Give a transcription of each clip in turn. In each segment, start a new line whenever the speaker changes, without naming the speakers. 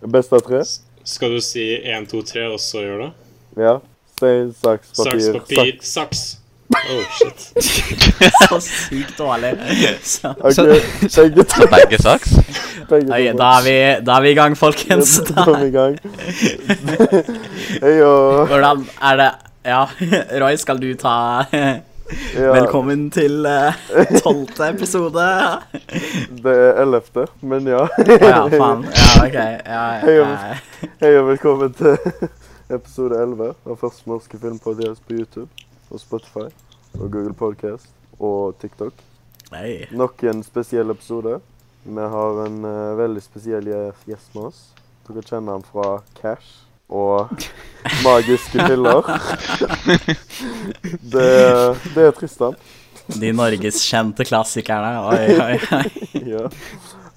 Best av tre?
Skal du si én, to, tre, og så gjør det?
Ja. Stein, saks, papir.
Saks, papir, saks. Oh, shit.
Så sykt dårlig. Så.
Ok,
Så-
begge to.
Begge saks?
Begge
Oi,
to.
da er, vi, da er vi i gang, folkens. Da.
Kom i gang. Hei og
Hvordan er det Ja, Roy, skal du ta
ja,
Velkommen til eh, tolvte episode. Å
Det er ellevte, men ja.
Ah, ja, faen. Ja, OK. Ja,
Hei,
ja.
Jonas. Hei og velkommen til eh, episode 11 av første norske filmpodcast på YouTube og Spotify og Google Podcast og TikTok.
Hei.
Nok en spesiell episode. Vi har en eh, veldig spesiell gje- gjest med oss. Dere kjenner han fra Cash og magiske piller. det, det er Tristan.
De norgeskjente klassikerne. Oi, oi, oi.
Ja.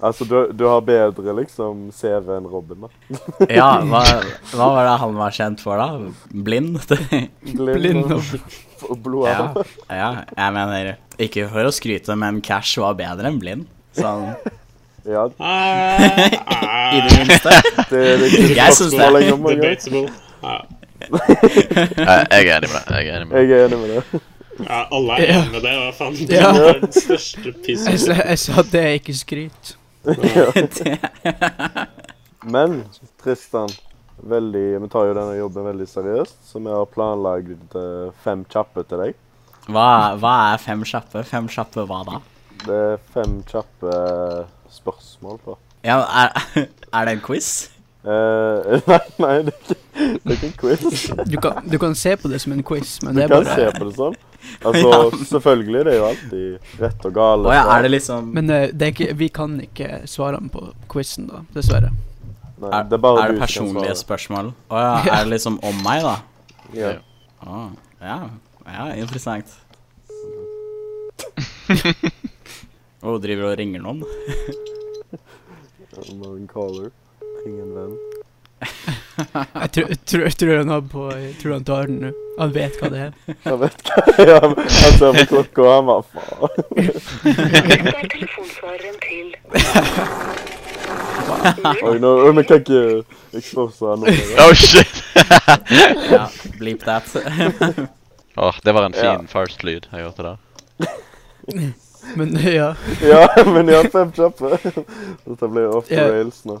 Altså, du, du har bedre liksom CV enn Robin, da.
Ja, hva, hva var det han var kjent for, da? Blind?
Glind og, og
Ja,
blodarm.
ja, jeg mener Ikke for å skryte, men Cash var bedre enn blind. Sånn
Ja.
Eh,
i det
eh,
minste.
det er det ikke
Jeg synes det
spørsmål
er
lenger. Morgan.
Debatable. Ja,
Ja, Jeg er enig med deg. Jeg er enig med
Jeg
deg.
er enig med det.
ja, ah. alle er enige med det. Hva faen? Det
Ja.
er den største
Jeg
pissen.
sa, jeg sa det er ikke skryt.
Men Tristan, veldig, vi tar jo denne jobben veldig seriøst, så vi har planlagt eh, fem kjappe til deg.
Hva, hva er fem kjappe? Fem kjappe hva da?
Det er fem kjappe eh, spørsmål på.
Ja, er, er det en quiz?
Eh, nei, nei, det er ikke, det er ikke en quiz.
Du kan, du kan se på det som en quiz, men
Du
det er
kan
bare
se på det sånn. Altså, selvfølgelig, det er jo alltid rett og gale.
Å ja,
svar.
er det liksom
Men eh, det er ikke, vi kan ikke svarene på quizen, da, dessverre.
Nei,
Er
det er bare
er
du som
det
kan
personlige
svare.
spørsmål? Å ja, er det liksom om meg, da?
Ja.
Å, ja. ja, interessant. Å, driver du og ringer noen?
I'm on caller. Ring en venn.
Jeg tror, jeg tror, jeg tror, han, har på, jeg tror han tar den nå. Han vet hva det er.
Jeg vet hva jeg har. Han ser på altså, klokka, og han bare faen.
Dette er telefonsvareren til
Oi, nå, vi kan ikke expose han nå.
Oh, shit!
Ja, bleep that.
Åh, det var en
Ja.
fin first-lyd jeg hørte der.
Men eh, ja.
Ja, men jeg har fem kjappe. Dette blir off the
Ja.
rails nå.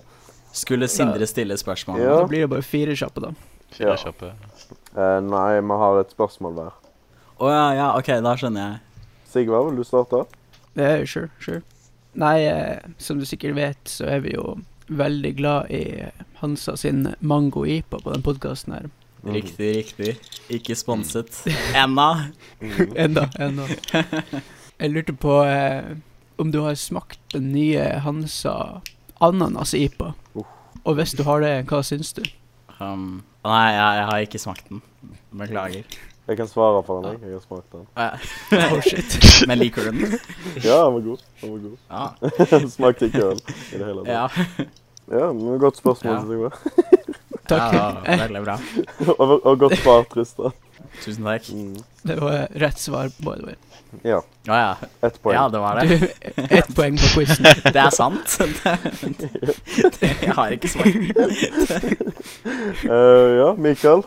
Skulle Sindre stille spørsmål?
Ja.
Da blir det bare fire kjappe, da.
Ja.
Fire kjappe.
Eh, nei, vi har et spørsmål hver.
Å ja, ja, OK, da skjønner jeg.
Sigvard, vil du starte?
Det er jo sure, sure. Nei, eh, som du sikkert vet, så er vi jo veldig glad i Hansa sin mango-ipa på den podkasten her.
Mhm.
Riktig, riktig. Ikke sponset. Ennå.
Mm.
Enda, enda. Jeg lurte på eh, om du har smakt den nye Hansa ananas-ipa. Og hvis du har det, hva syns du?
Um, nei, jeg, jeg har ikke smakt den. Beklager.
Jeg kan svare for han, jeg. Jeg har smakt den.
Å, ja.
Oh shit.
Eh, Men liker du den?
Ja, han var god. Han var god.
Ja.
Smakte ikke øl i det hele tatt.
ja.
Ja, men godt spørsmål,
Ja.
Sigvard.
Takk. Eh,
Ja, det var veldig bra.
og, og godt svar, Tristan.
Tusen takk.
Mm.
Det var rett svar, by the way.
Ja,
Å ja.
ett poeng.
Ja, det var det.
Du, ett poeng på quizen.
Det er sant. Det, det, jeg har ikke svart.
Eh, ja, Mikael.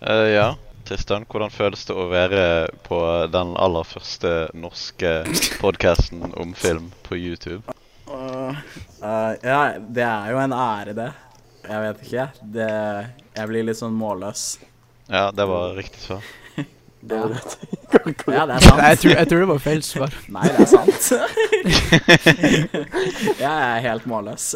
Eh, ja. Tristan, hvordan føles det å være på den aller første norske podkasten om film på YouTube?
Eh, ja, det er jo en ære, det. Jeg vet ikke. Det, jeg blir litt sånn målløs.
Ja, det var riktig svar.
Det var det.
Ja, det er
Nei, jeg
sant.
tror, jeg tror det var feil svar.
Nei, det er sant. Jeg er helt målløs.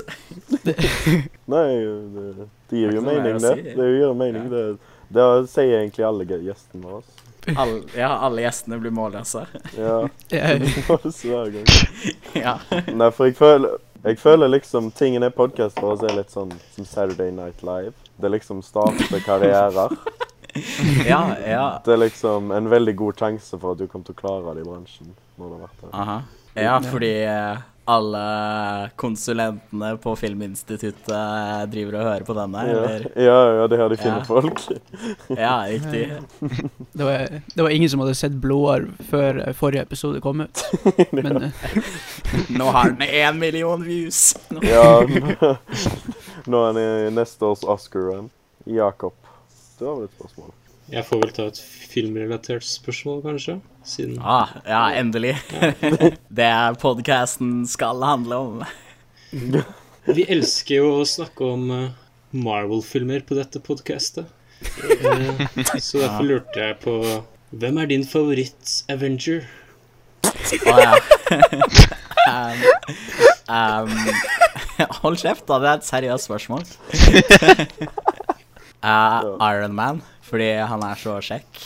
Nei, det, det gir jo
Det er ikke så
mening,
mer å
det.
si.
Det gir jo mening, det. Det sier egentlig alle ge- gjestene våre.
Alle, ja, alle gjestene blir målløse.
Ja.
Jeg,
det var det hver gang.
Ja.
Nei, for jeg føler, jeg føler liksom tingen er podkast for oss er litt sånn som Saturday Night Live. Det liksom starter karrierer.
ja, ja.
Det er liksom en veldig god sjanse for at du kommer til å klare det i bransjen. når du har vært der.
Aha. Ja, fordi eh, alle konsulentene på Filminstituttet driver og hører på denne, eller?
Ja, ja, ja, det er her de finner
Ja.
folk.
Ja, riktig.
det, var, det var ingen som hadde sett Blodarv før eh, forrige episode kom ut. Men eh,
Nå har den én million views.
Ja, Nå er han i neste års Oscar-run. Jakob, du har vel et spørsmål?
Jeg får vel ta et filmrelatert spørsmål, kanskje? Siden
Ah, ja, endelig. det er podkasten skal handle om.
Vi elsker jo å snakke om eh, Marvel-filmer på dette podkastet. Så derfor lurte jeg på Hvem er din favoritt-Avenger?
Å ja. um, um, hold kjeft, da. Det er et seriøst spørsmål. uh, Iron Man, fordi han er så kjekk.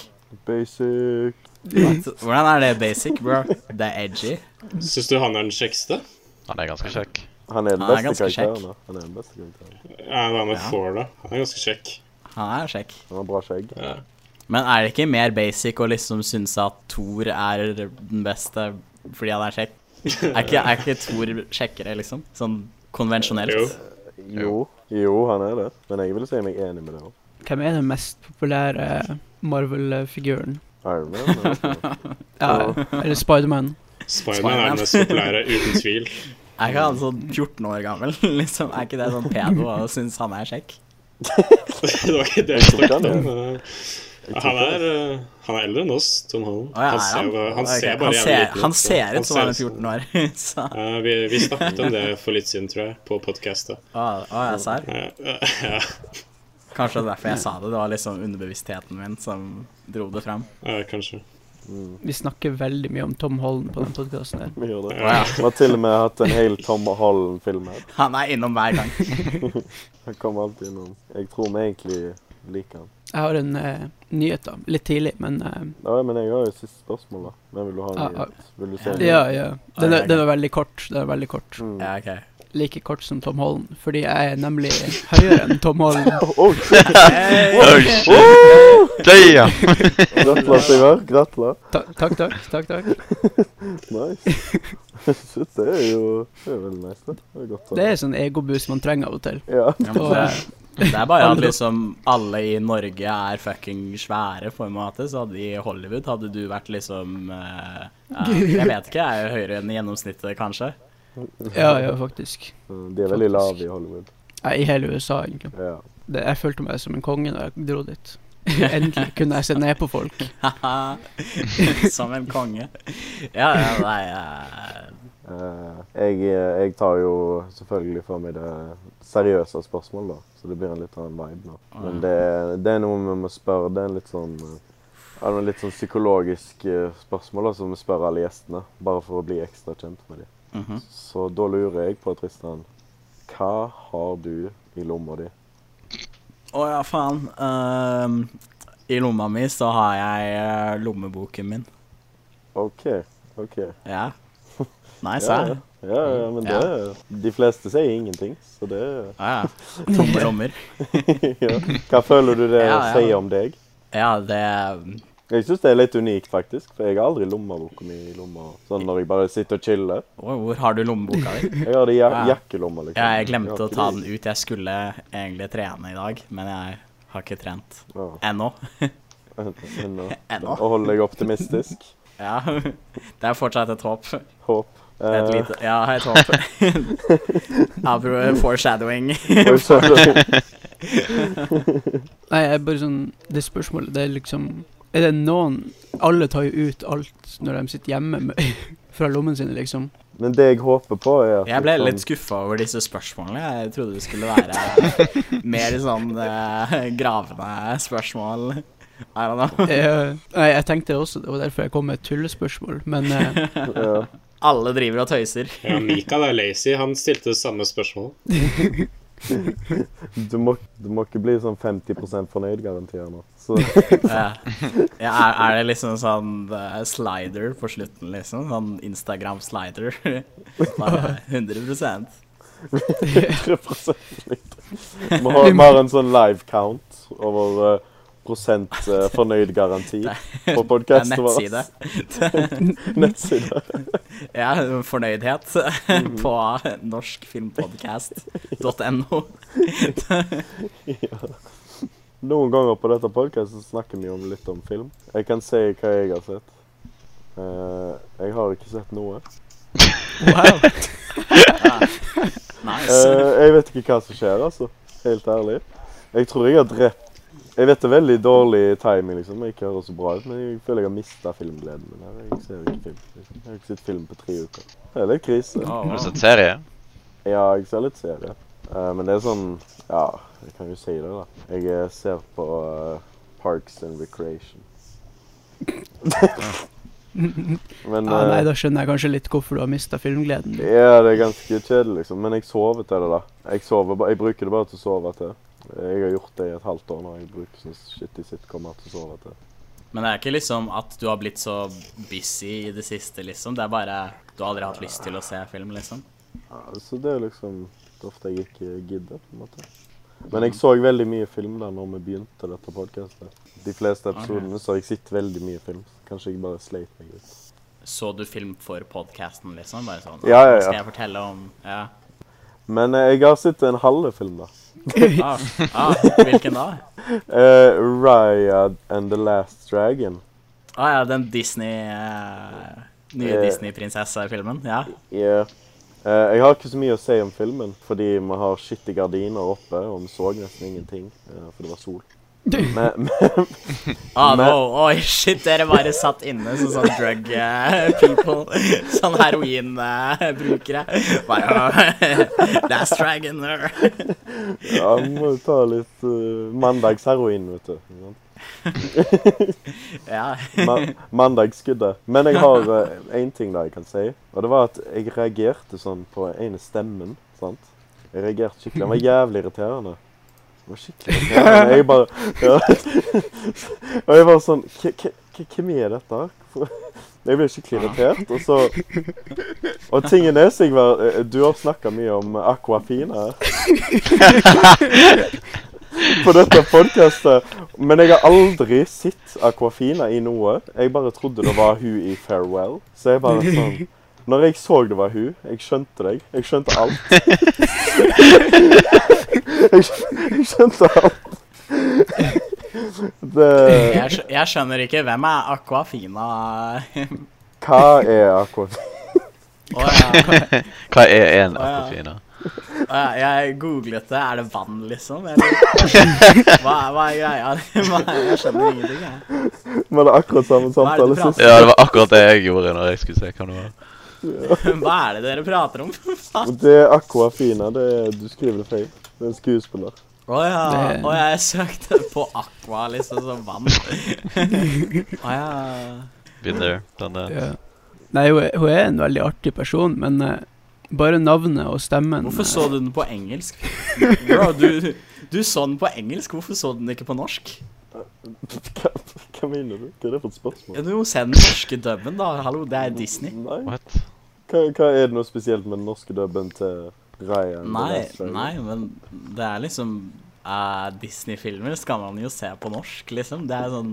Basic.
Hvordan er det basic, bro? Det er edgy.
Syns du han er den kjekkeste?
Han er ganske kjekk.
Han er den
Han er
beste
ganske kjekk.
karakteren. da. Han er den beste karakteren.
Ja, hva med
Ja.
Thor, da? Han er ganske kjekk.
Han er kjekk.
Han har bra skjegg.
Ja.
Men er det ikke mer basic å liksom synes at Thor er den beste fordi han er kjekk? Er ikke, er ikke Thor kjekkere, liksom? Sånn konvensjonelt?
Jo.
Jo, jo, han er det. Men jeg vil si meg enig med det òg.
Hvem er den mest populære Marvel-figuren?
Iron Man. er også-
Ja, eller Spiderman.
Spiderman er den mest populære, uten tvil.
Er ikke han sånn 14 år gammel? liksom? Er ikke det sånn pedo å synes han er kjekk?
Det var ikke
Jeg
det jeg
tror ikke
snakket
han
om. men, eh, Han er, eh, han er eldre enn oss, Tom Holland.
Å, ja,
Han
er
ser, jo- han
Ok,
ser bare
han
jævlig
ser,
liten ut,
han
så-
ser ut som han er
ser
14 år. Så,
Ja, vi, vi snakket om det for litt siden, tror jeg, på podkastet.
å, å, jeg ser.
Ja,
Kanskje det er derfor jeg sa det. Det var liksom underbevisstheten min som dro det fram.
ja, kanskje.
Vi snakker veldig mye om Tom Holland på den podkasten her.
Vi gjør det.
Ja.
Vi har til og med hatt en hel Tom Holland-film her.
Han er innom hver gang.
Han kommer alltid innom. Jeg tror vi egentlig liker han.
Jeg har en eh, nyhet, da. Litt tidlig, men eh,
Ja, men jeg har jo siste spørsmål, da. Men vil du ha en
Ja,
nyhet? Vil du se en
Ja,
nyhet?
ja. Den er, den er veldig kort. Den er veldig kort.
Mm.
Ja, ok.
Like kort som Tom Holland, fordi jeg er nemlig høyere enn Tom Holland.
Oh, oh, shit.
Oi, Oh, shit. Damn!
Gratulerer, Sigvard. Gratulerer.
Ta takk, takk. takk, takk.
Nice. Shit, det er jo Det er veldig nice, det. Det er godt. å-
Det er sånn egoboost man trenger av og til.
Ja.
Ja, men
Og,
det,
eh,
det er bare at liksom alle i Norge er fucking svære på en måte, så hadde i Hollywood hadde du vært liksom eh, ja, Jeg vet ikke, jeg er jo høyere enn gjennomsnittet, kanskje.
ja, ja, faktisk.
Mm, De er veldig lave i Hollywood.
Jeg er I hele USA, egentlig.
Ja.
Det, jeg følte meg som en konge da jeg dro dit. Endelig kunne jeg se ned på folk.
Haha. Som en konge. Ja, ja, nei eh,
Eh, jeg, jeg tar jo selvfølgelig for meg det seriøse spørsmål, da. Så det blir en litt annen vibe nå.
Ah,
Men det, er- det er noe vi må spørre. Det er en litt sånn eh, ja, det er en litt sånn psykologisk eh, spørsmål da, som vi spør alle gjestene. Bare for å bli ekstra kjent med dem.
mhm.
Så da lurer jeg på, Tristan, hva har du i lomma di?
Å ja, faen. Ehm, I lomma mi så har jeg eh, lommeboken min.
OK. OK.
Ja. Nei,
Ja,
serr.
ja, ja men det er De fleste sier ingenting, så det er
Ja, ja. Tomme lommer.
ja. Hva føler du det
Ja, ja.
sier om deg?
Ja, det
Jeg syns det er litt unikt, faktisk. For jeg har aldri lommeboka mi i lomma sånn når jeg bare sitter og chiller.
Å, Hvor har du lommeboka di?
Jeg har det i ja-
Ja.
jakkelomma, liksom.
Jeg glemte å
har ikke
ta
det
den ut. Jeg skulle egentlig trene i dag, men jeg har ikke trent
i- Ja.
ennå.
Ennå.
Ennå.
Og holde deg optimistisk.
Ja, det er fortsatt et håp.
Håp.
Et
Eh,
lite Ja, et håp. Apropos foreshadowing.
og så-
Nei, jeg er bare sånn Det spørsmålet, det er liksom Er det noen Alle tar jo ut alt når de sitter hjemme med, fra lommen sin, liksom.
Men det jeg håper på, er at
Jeg ble
liksom-
litt skuffa over disse spørsmålene. Jeg trodde det skulle være mer sånn eh, gravende spørsmål. I don't know.
Eh, nei, jeg tenkte også det var derfor jeg kom med et tullespørsmål, men eh,
ja.
Alle driver og tøyser.
Ja, Mikael er lazy. Han stilte samme spørsmål.
du, må, du må ikke bli sånn 50 fornøyd-garanti her nå. Så
Eh, ja, er, er det liksom sånn eh, slider på slutten, liksom? Sånn Instagram-slider. Bare 100
representant. Vi har, vi har en sånn live count over eh, prosent eh, fornøyd-garanti på
Det er
podkasten vår.
nettside.
Nettside.
Ja, fornøydhet på norskfilmpodcast.no.
Noen ganger på dette podkastet snakker vi om litt om film. Jeg kan si hva jeg har sett. Eh, jeg har ikke sett noe.
Wow.
Nice.
Eh, jeg vet ikke hva som skjer, altså. Helt ærlig. Jeg tror jeg har drept Jeg vet det er veldig dårlig timing, liksom. Jeg ikke hører så bra ut, men jeg føler jeg har mista filmgleden min. her. Jeg ser jo ikke film. Liksom. Jeg har ikke sett film på tre uker. Det er litt krise.
Å,
Har du
wow.
sett serie?
Ja, jeg ser litt serie. Eh, men det er sånn Ja, jeg kan jo si det, da. Jeg eh, ser på eh, Parks and Recreation. men
Ja, Ah, nei,
eh,
da skjønner jeg kanskje litt hvorfor du har mista filmgleden. din.
Ja, det er ganske kjedelig, liksom. Men jeg sover til det, da. Jeg, sover, ba- jeg bruker det bare til å sove til. Jeg har gjort det i et halvt år nå. Jeg bruker sånn shitty sitcomer til å sove til.
Men det er ikke liksom at du har blitt så busy i det siste, liksom. Det er bare du har aldri hatt lyst til å se film, liksom.
Ja, så det er liksom det er ofte jeg ikke gidder, på en måte. Men jeg så veldig mye film da når vi begynte dette podcastet. De fleste episodene så har jeg sett veldig mye film. Kanskje jeg bare sleit meg ut.
Så du film for podkasten, liksom? Bare sånn
Ja, ja, ja.
Skal jeg fortelle om Ja.
Men eh, jeg har sett en halve film, da.
Ah, ah, hvilken da?
Eh, Raya and the Last Dragon.
Ah, ja, den Disney eh, Nye
Eh.
Disney-prinsesse-filmen. Ja.
Ja. Eh, jeg har ikke så mye å si om filmen, fordi vi har skittige gardiner oppe, og vi så nesten ingenting, eh, for det var sol. Men, men,
Ah,
Men-
no, Oi, shit, dere bare satt inne som sånn drug eh, people. Sånn heroinbrukere. Bare Last Dragon. eh.
ja, vi må jo ta litt eh, mandagsheroin, vet du.
Ja.
Ma Mandagsskuddet. Men jeg har én ting da jeg kan si, og det var at jeg reagerte sånn på ene stemmen. sant? Jeg reagerte skikkelig. Den var jævlig irriterende. Den var skikkelig irriterende. Jeg bare ja. Og jeg var sånn "K- k- k- Hvem er dette? her? For- Jeg ble skikkelig irritert, og så Og tingen er, Sigvard, eh, du har snakka mye om Aquafina. På dette podkastet. Men jeg har aldri sett Aquafina i noe. Jeg bare trodde det var hun i Farewell. Så jeg bare sånn Når jeg så det var hun, jeg skjønte deg. Jeg skjønte alt. jeg, skj- jeg skjønte alt. Det,
Jeg, skj- jeg skjønner ikke. Hvem er Aquafina?
hva er Aquafina?
Å ja,
Hva er en
Å, ja.
aquafina?
å ja, jeg googlet det. Er det vann, liksom? Eller? Hva, hva er greia? Hva, jeg skjønner ingenting, jeg.
Vi hadde akkurat samme
Hva er det
samtale
du prater
sist.
Ja, det var akkurat det jeg gjorde når jeg skulle se hva det var.
Hva er det dere prater om? Å
Det er Aquafina. Det er, du skriver det feil. Det er en skuespiller.
ja.
Det-
Å ja, jeg søkte på aqua, liksom, som vann. Å ja.
Been there, done that.
Ja. Nei, hun er, hun er en veldig artig person, men eh, bare navnet og stemmen
Hvorfor så du den på engelsk? Bro, du, du så den på engelsk. Hvorfor så du den ikke på norsk?
Hva, hva mener du? Hva er det for et spørsmål?
Ja, Du må se den norske dubben, da. Hallo, det er Disney.
Nei.
What?
Hva, hva er det noe spesielt med den norske dubben til Ryan?
Nei, nei, men det er liksom eh, Disney-filmer skal man jo se på norsk, liksom. Det er sånn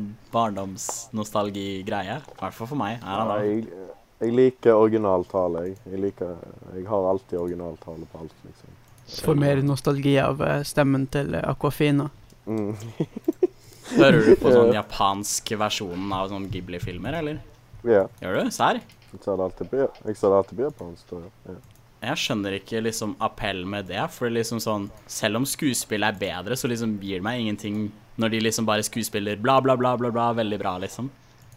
barndomsnostalgi-greie. I hvert fall for meg. Er det da.
jeg, jeg liker originaltale. Jeg, jeg, liker, jeg har alltid originaltale på alt, liksom.
eh, får mer nostalgi av eh, stemmen til eh, Aquafina.
Mm.
Hører du på sånn japansk versjonen av sånn Ghibli-filmer, eller?
Ja,
Gjør du? Serr?
jeg ser det alltid på, jeg ser det alltid på japansk. tror jeg. Ja.
Jeg skjønner ikke liksom appell med det, for liksom sånn Selv om skuespill er bedre, så liksom gir det meg ingenting når de liksom bare skuespiller bla, bla, bla, bla, bla, veldig bra, liksom.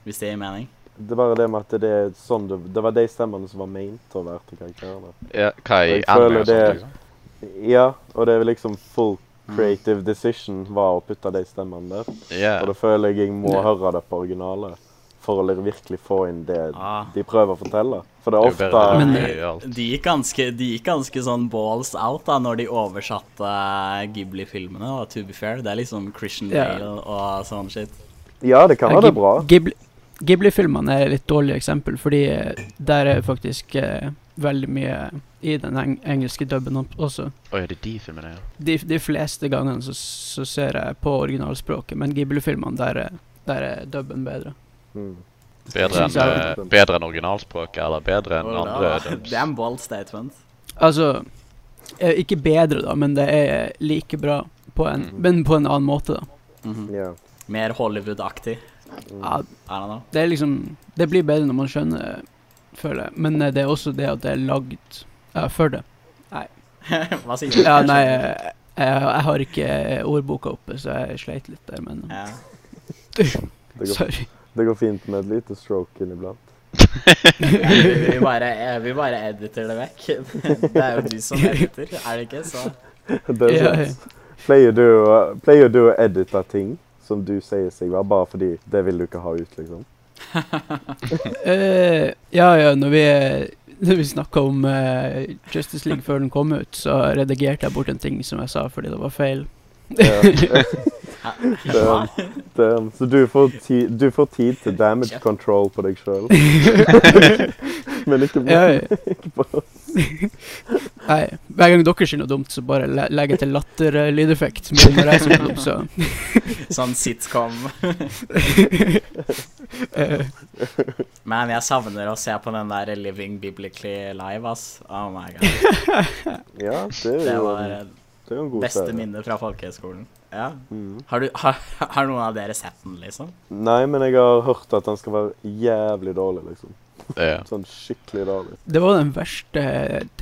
Hvis det gir mening.
Det er bare det med at det, er sånn det, det var de stemmene som var ment å være til karakterene.
Ja, hva i
Jeg
anime
føler
og sånt,
det-
liksom? Mm.
Ja, og det er vel liksom full creative decision var å putte de stemmene der.
Ja.
Og da føler jeg jeg må høre det på originalet for å li- virkelig få inn det
Ah.
de prøver å fortelle. For det er
Det er jo bedre
ofte
Men-
enn det i alt.
De gikk ganske, de gikk ganske sånn balls out da når de oversatte Ghibli-filmene. Og to be fair, det er liksom Christian
Ja.
Bale og sånn shit.
Ja, det kan
Ja,
være det
Ghib-
er bra.
Eh, Ghibli- Ghibli-filmene er et litt dårlig eksempel, fordi eh, der er faktisk eh, veldig mye i den eng engelske dubben opp- også.
Oi, det er de filmene, ja.
De, de fleste gangene så, så ser jeg på originalspråket, men Ghibli-filmene, der, er- der er dubben bedre.
Mm.
Bedre enn,
Synes
eh, bedre enn originalspråket, eller bedre enn
Og
andre
da- Det er en bold statement.
Altså eh, Ikke bedre, da, men det er like bra, på en,
Mm.
men på en annen måte, da.
Mhm.
Ja.
Mer Hollywood-aktig.
Ja,
I don't know.
det er liksom Det blir bedre når man skjønner føler jeg. Men eh, det er også det at det er lagd eh, for det.
Hva sier du?
Ja, nei,
eh.
jeg, jeg, jeg har ikke ordboka oppe, så jeg sleit litt der, men
Ja.
Det går,
sorry.
det går fint med et lite stroke inniblant.
Nei, vi, vi, bare, eh, vi bare editer det vekk. Det er jo du som editer, er det ikke? Så
Det er
Ja, ja.
sant. Pleier du, å- pleier du å edite ting som du sier seg være, bare fordi det vil du ikke ha ut, liksom?
Eh, ja, ja, når vi, når vi snakka om eh, Justice League før den kom ut, så redigerte jeg bort en ting som jeg sa fordi det var feil.
Ja. Damn. Damn. Så du får, ti, du får tid til damage control på deg sjøl. Men ikke
Ja,
på
ja. Nei, hver gang dere sier noe dumt, så bare le legger jeg til latter-lydeffekt. Men når jeg sier noe dumt, så
sånn sitcom.
eh,
Men jeg savner å se på den der Living Biblically Live, ass. Oh my god.
Ja, det er
Det
jo
var eh,
en- det er jo en god
beste
serie.
minne fra folkehøyskolen. Ja.
Mm.
Har, du, har, har noen av dere sett den, liksom?
Nei, men jeg har hørt at den skal være jævlig dårlig, liksom.
Ja.
Sånn skikkelig dårlig.
Det var den verste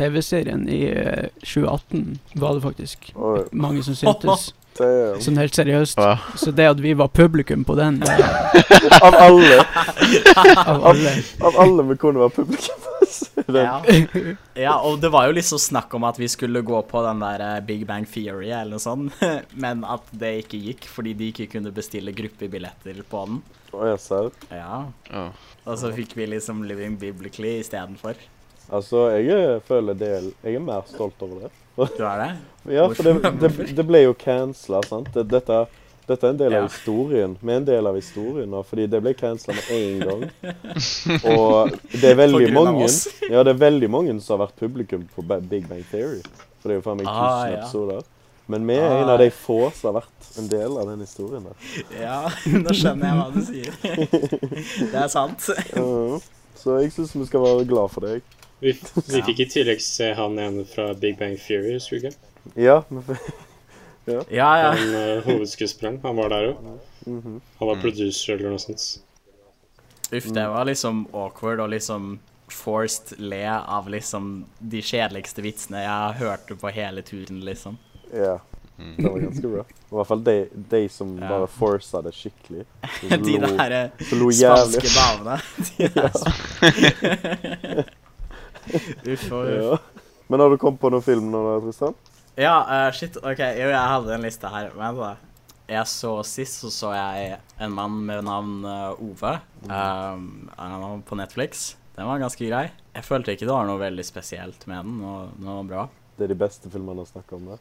TV-serien i eh, 2018, var det faktisk.
Oi,
Mange som syntes.
damn.
Sånn helt seriøst.
Hva?
Så det at vi var publikum på den, eh,
Av alle
av alle
Av alle vi kunne være publikum den,
Ja. ja, og det var jo liksom snakk om at vi skulle gå på den der eh, Big Bang Theory eller noe sånt, men at det ikke gikk fordi de ikke kunne bestille gruppebilletter på den.
Å, jeg ser.
Ja.
Å.
Og så fikk vi liksom Living Biblically istedenfor.
Altså, jeg er- føler del Jeg er mer stolt over det.
Du er det?
Ja, for det, det, det ble jo cancela, sant. Det- Dette, dette er en del av
Ja.
historien. Vi er en del av historien nå, fordi det ble cancela med en gang. Og det er veldig
På grunn av
mange
oss.
Ja, det er veldig mange som har vært publikum på Ba- Big Bang Theory. For det er jo faen meg
Ah,
1000
ja.
episoder. Men vi er en
Ah.
av de få som har vært en del av den historien der.
Ja, nå skjønner jeg hva du sier. Det er sant.
Ja, Så jeg syns vi skal være glad for deg.
Vi, vi fikk i tillegg se han ene fra Big Bang Fury, husker du ikke?
Ja, men
Ja, ja.
Han uh, hovedskuespilleren. Han var der òg.
Mhm.
Han var producer eller noe sånt.
Uff, det var liksom awkward og liksom forced le av liksom de kjedeligste vitsene jeg hørte på hele turen, liksom.
Ja. Det var ganske bra. I hvert fall de, de som
Ja.
bare forsa det skikkelig. Som
De
lo-
der eh,
som lo jævlig.
spanske damene. De er så Uff og uff.
Ja. Men har du kommet på noen film nå, da, Tristan?
Ja, eh, shit. OK, jo, jeg hadde en liste her. Vent, da. Jeg så Sist så så jeg en mann med navn eh, Ove um, han var på Netflix. Den var ganske grei. Jeg følte ikke det var noe veldig spesielt med den. og Den var bra.
Det er de beste filmene å snakke om. Det.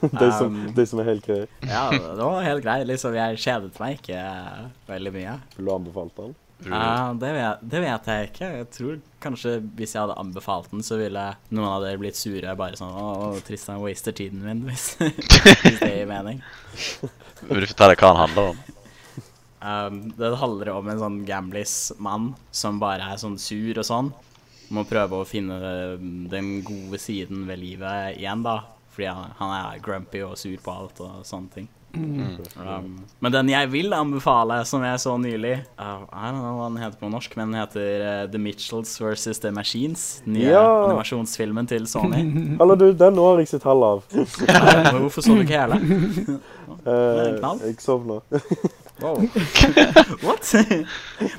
de, som,
Um.
de som er helt greie.
Ja, det var helt greit. Liksom, jeg kjedet meg ikke eh, veldig mye.
Ville du anbefalt den?
Eh, det, vet, det vet jeg ikke. Jeg tror kanskje hvis jeg hadde anbefalt den, så ville noen av dere blitt sure. Bare sånn Å, å, Tristan waster tiden min, hvis, hvis det gir mening.
Vil du fortelle hva han handler om?
Um, det handler om en sånn gamblis-mann som bare er sånn sur og sånn. Må prøve å finne um, den gode siden ved livet igjen, da. Fordi han, han er grumpy og sur på alt og sånne ting. Um, men den jeg vil anbefale, som jeg så nylig uh, I don't know hva den heter på norsk, men den heter uh, The Mitchells versus The Machines. Den nye
Ja.
animasjonsfilmen til Sony.
Eller du, den nå har jeg sett halve av.
Men Hvorfor så du ikke hele?
Eh,
en knall.
jeg sovna.
Wow. What?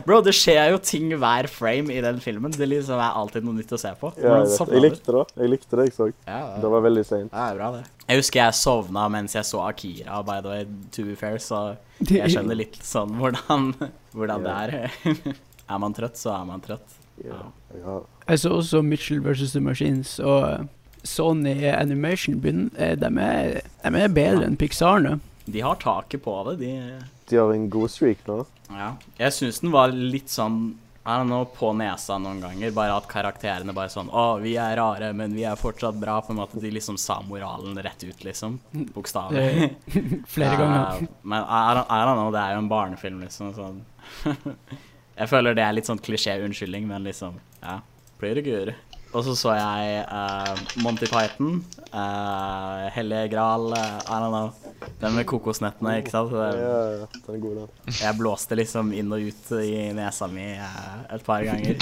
Bro, det skjer jo ting hver frame i den filmen. Det liksom er alltid noe nytt å se på.
Ja, jeg,
Hvordan
vet.
sovna
jeg
du?
likte det. Jeg likte det jeg så.
Ja,
Det var veldig seint.
det er bra, det. Jeg husker jeg sovna mens jeg så Akira, by the way, to be fair, så jeg skjønner litt sånn hvordan, hvordan det er. Er man trøtt, så er man trøtt.
Ja. Ja.
Jeg så også Mitchell vs. The Machines, og eh, Sony Animation begynner eh, de, er, de er bedre enn Pixar nå.
De har taket på det, de
De har en god streak nå.
Ja. Jeg syns den var litt sånn I don't know, på nesa noen ganger. Bare at karakterene bare sånn Å, vi er rare, men vi er fortsatt bra. På en måte De liksom sa moralen rett ut, liksom. Bokstavelig.
Flere ganger.
Eh, men I don't, I don't know, det er jo en barnefilm, liksom. Sånn. jeg føler det er litt sånn klisjé-unnskyldning, men liksom Ja. Blir det gøyere. Og så så jeg eh, Monty Python, uh, Hellige Gral, eh, I don't know. Den med kokosnettene, ikke sant?
Ja,
Det-
ja, ja, den er god, den.
Jeg blåste liksom inn og ut i nesa mi eh, et par ganger.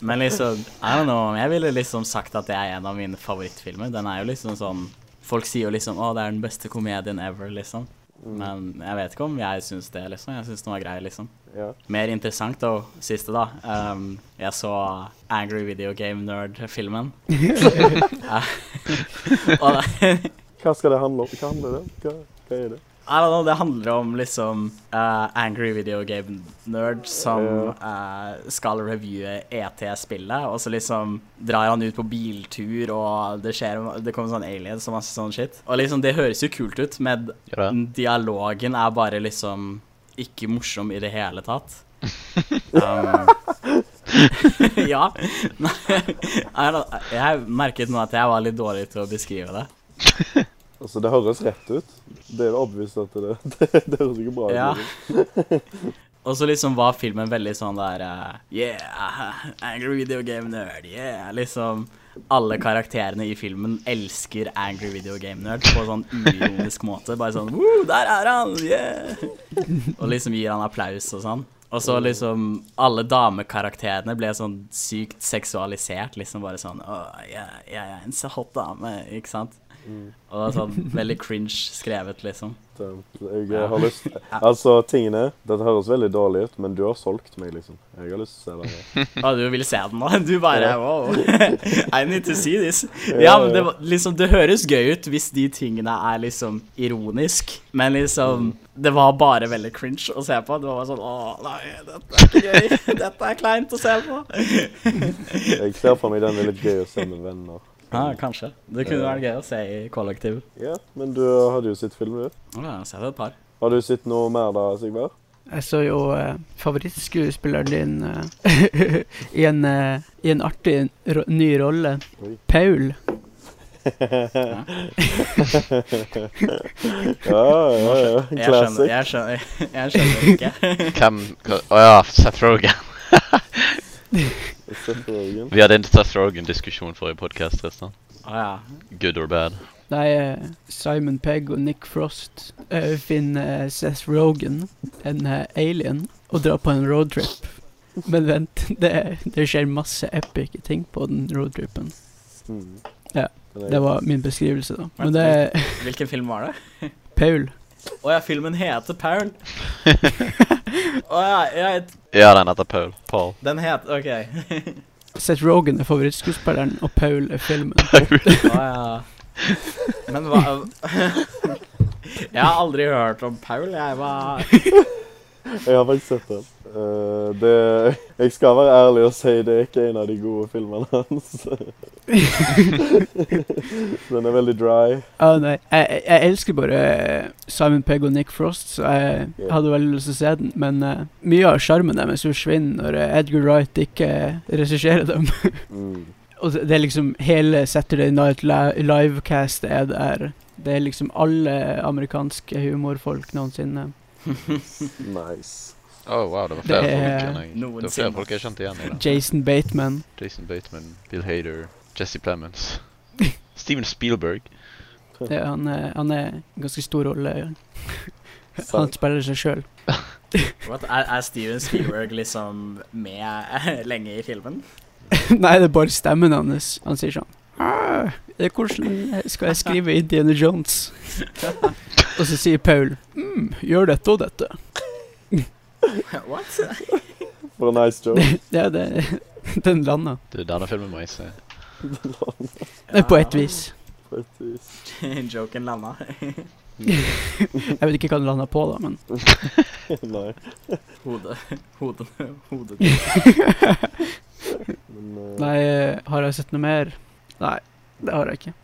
Men liksom, I don't know, jeg ville liksom sagt at det er en av mine favorittfilmer. Den er jo liksom sånn Folk sier jo liksom 'Å, det er den beste komedien ever', liksom. Men jeg vet ikke om jeg syns det, liksom. Jeg syns den var grei, liksom.
Ja.
Mer interessant, da, siste, da. Um, jeg så Angry Video Game Nerd-filmen. og
Hva skal det handle om? Hva handler det om? Hva, hva er det?
I don't know, det handler om liksom eh, angry video game nerd som eh, skal reviewe ET-spillet, og så liksom drar han ut på biltur, og det skjer Det kommer sånn aliens og masse sånn shit. Og liksom, det høres jo kult ut, men
Gjør det?
dialogen er bare liksom ikke morsom i det hele tatt. Um, ja. Nei, I don't- jeg merket nå at jeg var litt dårlig til å beskrive det.
Altså, det høres rett ut. Det er det obvist at det, det, det høres ikke bra ut.
Ja.
liksom.
Og så liksom var filmen veldig sånn der eh, Yeah, angry video game nerd, yeah. Liksom alle karakterene i filmen elsker angry video game nerd på sånn uironisk måte. Bare sånn Woo, der er han! Yeah! Og liksom gir han applaus og sånn. Og så liksom alle damekarakterene ble sånn sykt seksualisert. Liksom bare sånn Å, jeg, jeg er en så hot dame, ikke sant? Og det er sånn veldig cringe skrevet, liksom.
Damn, eh, Jeg har lyst Altså, tingene Dette høres veldig dårlig ut, men du har solgt meg, liksom. Jeg har lyst til å se det.
Å, du vil se den nå? Du
Ja.
bare wow. I need to see this. Ja, men det, var- liksom, det høres gøy ut hvis de tingene er liksom ironisk, men liksom Det var bare veldig cringe å se på. Det var bare sånn Å, nei, dette er ikke gøy. Dette er kleint å se på.
Jeg ser for meg den er litt gøy å se med venner.
Ja, kanskje. Det kunne vært gøy å se i kollektiv.
Ja, men du hadde jo sett film, du.
Å, Ja, se det et par.
Har du sett noe mer da, Sigvard?
Jeg så jo eh, favorittskuespilleren din eh, i, en, eh, i en artig ro ny rolle.
Oi.
Paul.
Ja, ja, ja.
Jeg skjønner,
Classic.
jeg skjønner, jeg skjønner ikke.
Hvem hva- Å ja, Seth Rogan.
Seth Rogen.
Vi hadde en Seth Rogan-diskusjon forrige podkast, Tristan.
Å ja.
Good or bad?
Nei, eh, Simon Pegg og Nick Frost eh, finner eh, Seth Rogan, en eh, alien, og drar på en roadtrip. Men vent, det, det skjer masse epic ting på den roadtripen.
Mm.
Ja,
Den er-
Det var min beskrivelse, da. Men det er
Hvilken film var det?
Paul.
Å ja, filmen heter Paul. Å ja, jeg,
Ja, den heter Paul. Paul.
den het OK.
Seth Rogan er favorittskuespilleren, og Paul er filmen.
Å ja. Men hva Jeg har aldri hørt om Paul, jeg. Hva
Jeg har faktisk sett den. Eh, det, jeg skal være ærlig og si det er ikke en av de gode filmene hans. den er veldig dry.
Å nei, jeg, jeg- jeg elsker bare eh, Simon Pegg og Nick Frost, så jeg
Ja.
hadde veldig lyst til å se den. Men eh, mye av sjarmen deres forsvinner når eh, Edgar Wright ikke regisserer dem.
Mm.
og det det er liksom hele Saturday Night Li- Live-cast er der. Det er liksom alle amerikanske humorfolk noensinne.
Nice.
Oh, wow, det var
Det
flere folk enn jeg Det var
er
flere
noensinne.
folk jeg kjente igjen i den.
Jason Bateman.
Jason Bateman, Bill Hader, Jesse Plemons. Steven Spielberg.
Det, er- han, er, han er en ganske stor rolle. han
Sant.
spiller seg sjøl.
What? Er, er Steven Spielberg liksom med lenge i filmen?
Nei, det er bare stemmen hans. Han sier sånn «Ah, det er Hvordan skal jeg skrive Indiana Jones? og så sier Paul mm, gjør dette og dette.
What?
For a nice joke.
Ja, det, den landa.
Du, denne filmen må jeg se.
Nei, på ett vis.
Faktisk.
Joken landa.
Jeg vet ikke hva den landa på, da, men
Nei.
Hodet Hodet Hodet
Men eh,
Nei, har jeg sett noe mer? Nei, det har jeg ikke.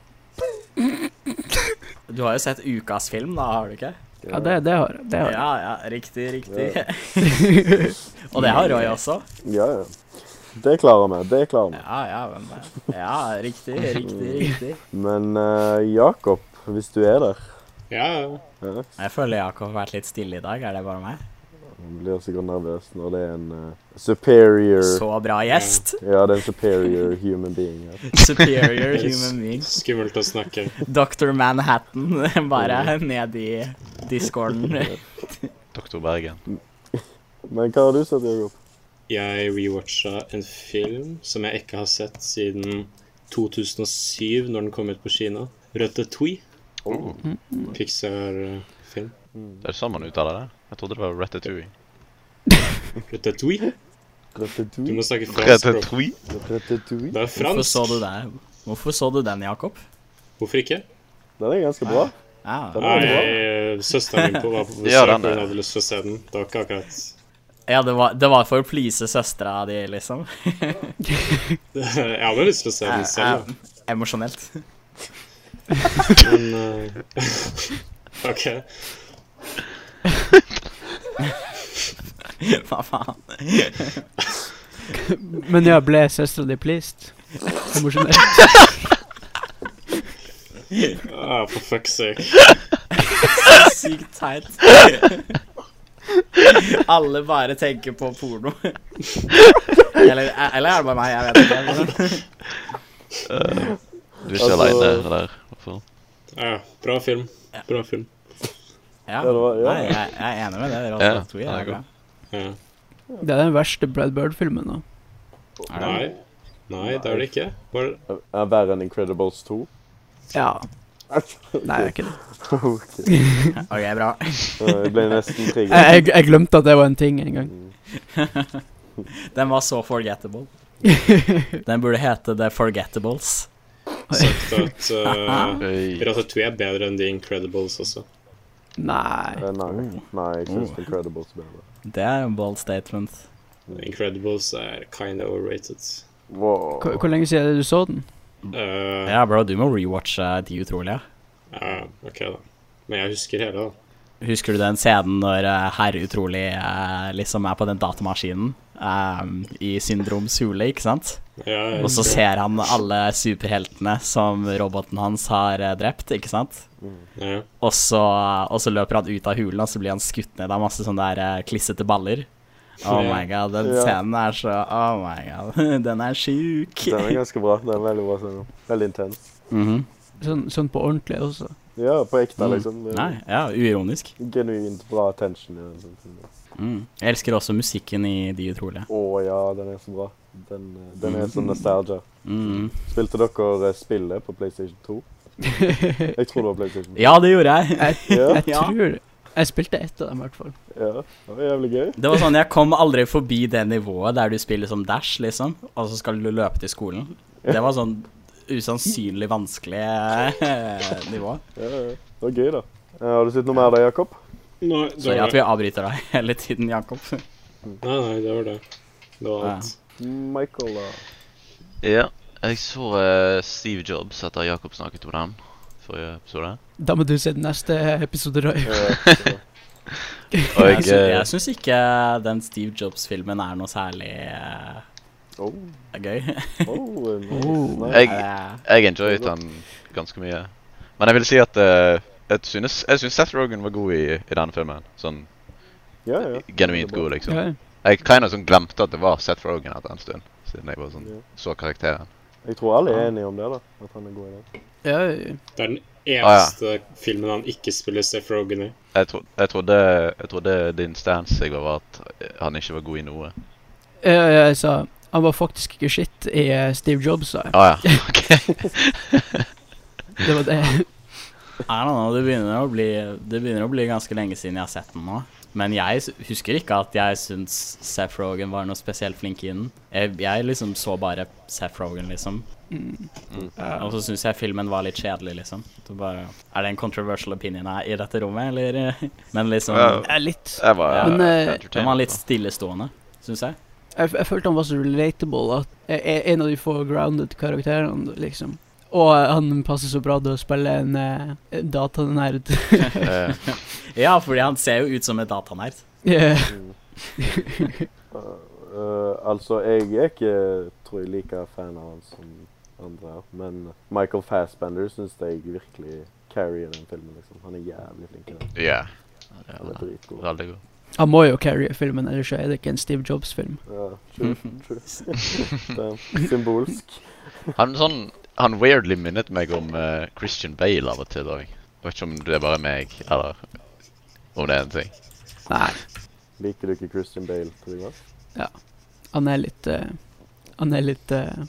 Du har jo sett ukas film, da, har du ikke?
Ja, det, det har jeg. Det har jeg.
Ja, ja. Riktig, riktig. Og det har Roy også.
ja, ja. Det klarer vi. Det klarer vi.
Ja, ja. Men, ja, riktig, riktig, riktig.
Men eh, Jakob, hvis du er der
Ja, ja.
ja.
Jeg føler Jakob har vært litt stille i dag. Er det bare meg?
Man blir sikkert nervøs når det er en eh, superior
Så bra gjest.
Ja, det er en superior human being her.
Superior human being.
Skummelt å snakke.
Dr. Manhattan bare ned i discorden.
Doktor Bergen.
Men hva har du sett, Jakob?
Jeg rewatcha en film som jeg ikke har sett siden 2007, når den kom ut på Kina. Ratatouille.
Oh,
Pixar-film.
det er sånn man uttaler det? Jeg trodde det var Ratatouille.
Ratatouille? Du må
Ratatouille?
snakke fransk. bro.
Ratatouille?
Ratatouille?
Det er
Hvorfor så du
fransk.
det? Hvorfor så du den, Jakob?
Hvorfor ikke?
Den er ganske bra.
Ja.
Den
Nei,
er bra.
eh, Søsteren min på var på
Ja,
besøk,
den
og hun
er-
hadde lyst til å se den. Det var ikke akkurat
Ja, det var, det var for å please søstera di, liksom.
Jeg hadde lyst til å se den selv, da.
Eh, eh, Emosjonelt.
men eh, OK.
Hva faen?
Men ja, ble søstera di pleased? Emosjonelt.
Ah, for fuck's sake.
Sykt teit. Alle bare tenker på porno. Eller, eller er det bare meg? Jeg vet ikke. men-
Eh, du er
Altså-
ikke aleine der, i hvert fall.
Ah, Ja, bra film. Bra film.
Ja.
Ja, det var- ja.
Nei, jeg, jeg er enig med det.
Ja,
Ratatouille
den
er
er
bra.
Ja.
Det er den verste Brad Bird-filmen, da.
Nei. Nei, det er det ikke. Var det
Er verre enn Incredibles 2?
Ja. Nei, det er
Ok.
ikke det.
OK, bra.
Jeg ble nesten
Jeg,
trigget. Mm.
jeg, jeg glemte at det var en ting en gang.
Den var så forgettable. Den burde hete The Forgettables.
sagt at eh,
Oi.
Ratatouille er bedre enn The Incredibles også.
Nei.
Eh, Nei, nei, jeg syns Incredibles er bedre.
Det er en bold statement.
The Incredibles er kinda overrated.
Wow.
Hvor, hvor lenge siden er det du så den?
Eh,
Ja, bro, du må rewatche De utrolige.
ja, OK, da. Men jeg husker hele, da.
Husker du den scenen når eh, herr Utrolig eh, liksom er på den datamaskinen eh, i Syndroms hule, ikke sant?
Ja, jeg
Og så
husker.
ser han alle superheltene som roboten hans har eh, drept, ikke sant?
Ja.
Og så, og så løper han ut av hulen, og så blir han skutt ned av masse sånne der eh, klissete baller. Oh
Ja.
my god, den
Ja.
scenen er så Oh my god, den er sjuk.
Den er ganske bra. Den er veldig bra. scene. Veldig intens.
Mhm.
Sånn, sånn på ordentlig også.
Ja, på ekte,
Mm.
liksom. Det er
Nei, ja, uironisk.
Genuint bra attention. Ja. sånn ting.
Mm. Jeg elsker også musikken i De utrolige.
Å ja, den er så bra. Den, eh, den er sånn nostalgia.
Mhm.
Spilte dere eh, spillet på PlayStation 2? Jeg tror det var PlayStation 2.
Ja, det gjorde jeg.
Jeg,
Ja.
jeg tror Jeg spilte ett av dem, i hvert fall.
ja. Det var jævlig gøy.
Det var sånn, Jeg kom aldri forbi det nivået der du spiller som Dash, liksom, og så skal du løpe til skolen. Det var sånn usannsynlig vanskelig eh, nivå.
Ja, ja. Det var gøy, da. Eh, Har du sett noe mer da, Jakob?
Nei, det
Sorry
var-
at vi avbryter deg hele tiden, Jakob.
Nei, nei, det var det. Det var alt.
Michael, da.
Ja, jeg så eh, Steve Jobs etter Jakob snakket om den forrige episode.
Da må du se den neste episode, Roy.
Eh, så-
Og
Jeg,
jeg,
sy
eh,
jeg syns ikke den Steve Jobs-filmen er noe særlig eh,
Oh,
gøy.
oh, nice.
Oh.
nice.
Jeg-
Eh,
jeg enjoyet den ganske mye. Men jeg vil si at eh, jeg, synes, jeg synes Seth Rogen var god i, i denne filmen. Sånn
Ja, ja.
genuint god, liksom.
Ja.
Jeg kinda sånn glemte at det var Seth Rogen etter en stund. Siden jeg bare sånn
Ja.
så karakteren.
Jeg tror alle er enige om det, da. At han er god i det.
Ja, ja.
Det
Ah,
er den eneste filmen han ikke spiller Seth Rogen i.
Jeg, tro, jeg, trodde, jeg trodde din stance jeg var, var at han ikke var god i noe.
Ja, ja, jeg sa han var faktisk ikke shit i eh, Steve Jobs, sa jeg.
Ah, ja. ok.
Det var det.
I don't know, det begynner, å bli, det begynner å bli ganske lenge siden jeg har sett den nå. Men jeg s- husker ikke at jeg syns Seth Rogen var noe spesielt flink i den. Jeg, jeg liksom så bare Seth Rogen, liksom.
Mm.
Og så syns jeg filmen var litt kjedelig, liksom. Så bare, er det en controversial opinion her i dette rommet, eller? Men liksom
Ja.
Ja, litt.
Jeg var
Men, eh,
Den var litt stillestående, syns jeg.
Jeg, f- jeg følte han var så relatable at jeg, jeg, en av de få grounded karakterene, liksom. Og eh, han passer så bra til å spille en uh, datanerd.
Eh,
Ja, fordi han ser jo ut som et datanerd.
yeah.
Mm. Eh, eh, altså, jeg er ikke tror jeg like fan av han som andre er, men Michael Fassbender syns jeg virkelig carrier den filmen. liksom. Han er jævlig flink til det.
Ja.
Han er
Yeah.
dritgod.
Veldig god.
Han må jo carry filmen, ellers så er det ikke en Steve Jobs-film.
Ja, true, true. Damn. Symbolsk.
Han, sånn, han weirdly minnet meg om eh, Christian Bale av og til òg. Jeg vet ikke om det er bare meg, eller om det er en ting.
Nei,
Liker du ikke Christian Bale? Trygve?
han er litt eh, Han er litt eh,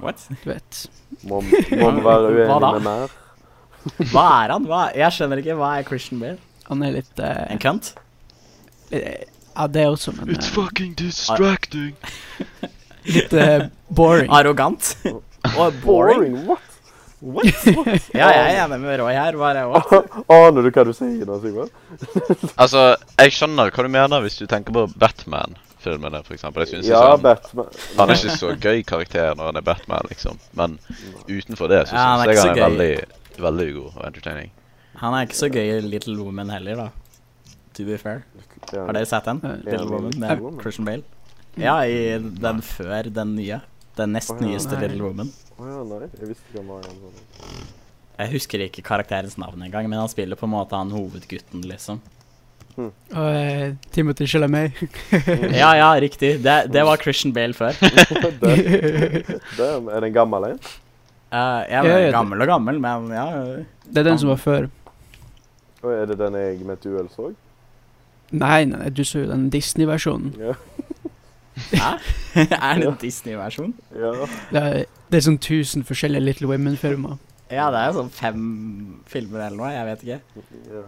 What?
Du vet.
Må, må man være
Hva
uenig
da?
med mer?
Hva er han? Hva er, jeg skjønner ikke. Hva er Christian Bale?
Han er litt eh,
En kønt?
eh, Ja, det er også, men eh,
fucking distracting.
litt eh, boring.
Arrogant? Og boring?
What?
Ja, jeg er enig med Roy her. Bare what?
Aner du hva du sier nå, Sigvald?
Altså, jeg skjønner hva du mener hvis du tenker på Batman-filmene, for eksempel. Jeg synes
Ja,
ikke han,
Batman.
han er ikke så gøy karakter når han er Batman, liksom. Men utenfor det så
Ja, han
synes
er
jeg
ikke
han er
så
veldig, veldig god og entertaining.
Han er ikke så gøy i Little Woman heller, da. To be fair.
Ja.
Har dere sett den?
Eh,
Little Woman
Little
med
Woman.
Christian Bale? Ja, i den før den nye. Den nest
Å, ja.
nyeste
Nei.
Little Woman.
Å ja, nei, jeg visste ikke om Marian var sånn. det.
Jeg husker ikke karakterens navn engang, men han spiller på en måte han hovedgutten, liksom.
Og eh, Timothy Chalamet.
Ja, ja, riktig. Det, det var Christian Bale før.
Damn. Damn, Er den gammel en?
Eh, jeg
Ja, ja,
var
det-
gammel og gammel, men ja.
Det er den som var før.
Og er det den jeg med et uhell så?
Nei, nei, nei, du så jo den Disney-versjonen.
Ja.
er det en Disney-versjon?
ja.
Det, er- det er sånn 1000 forskjellige Little Women-filmer.
Ja, det er jo sånn fem filmer eller noe, jeg vet ikke.
ja.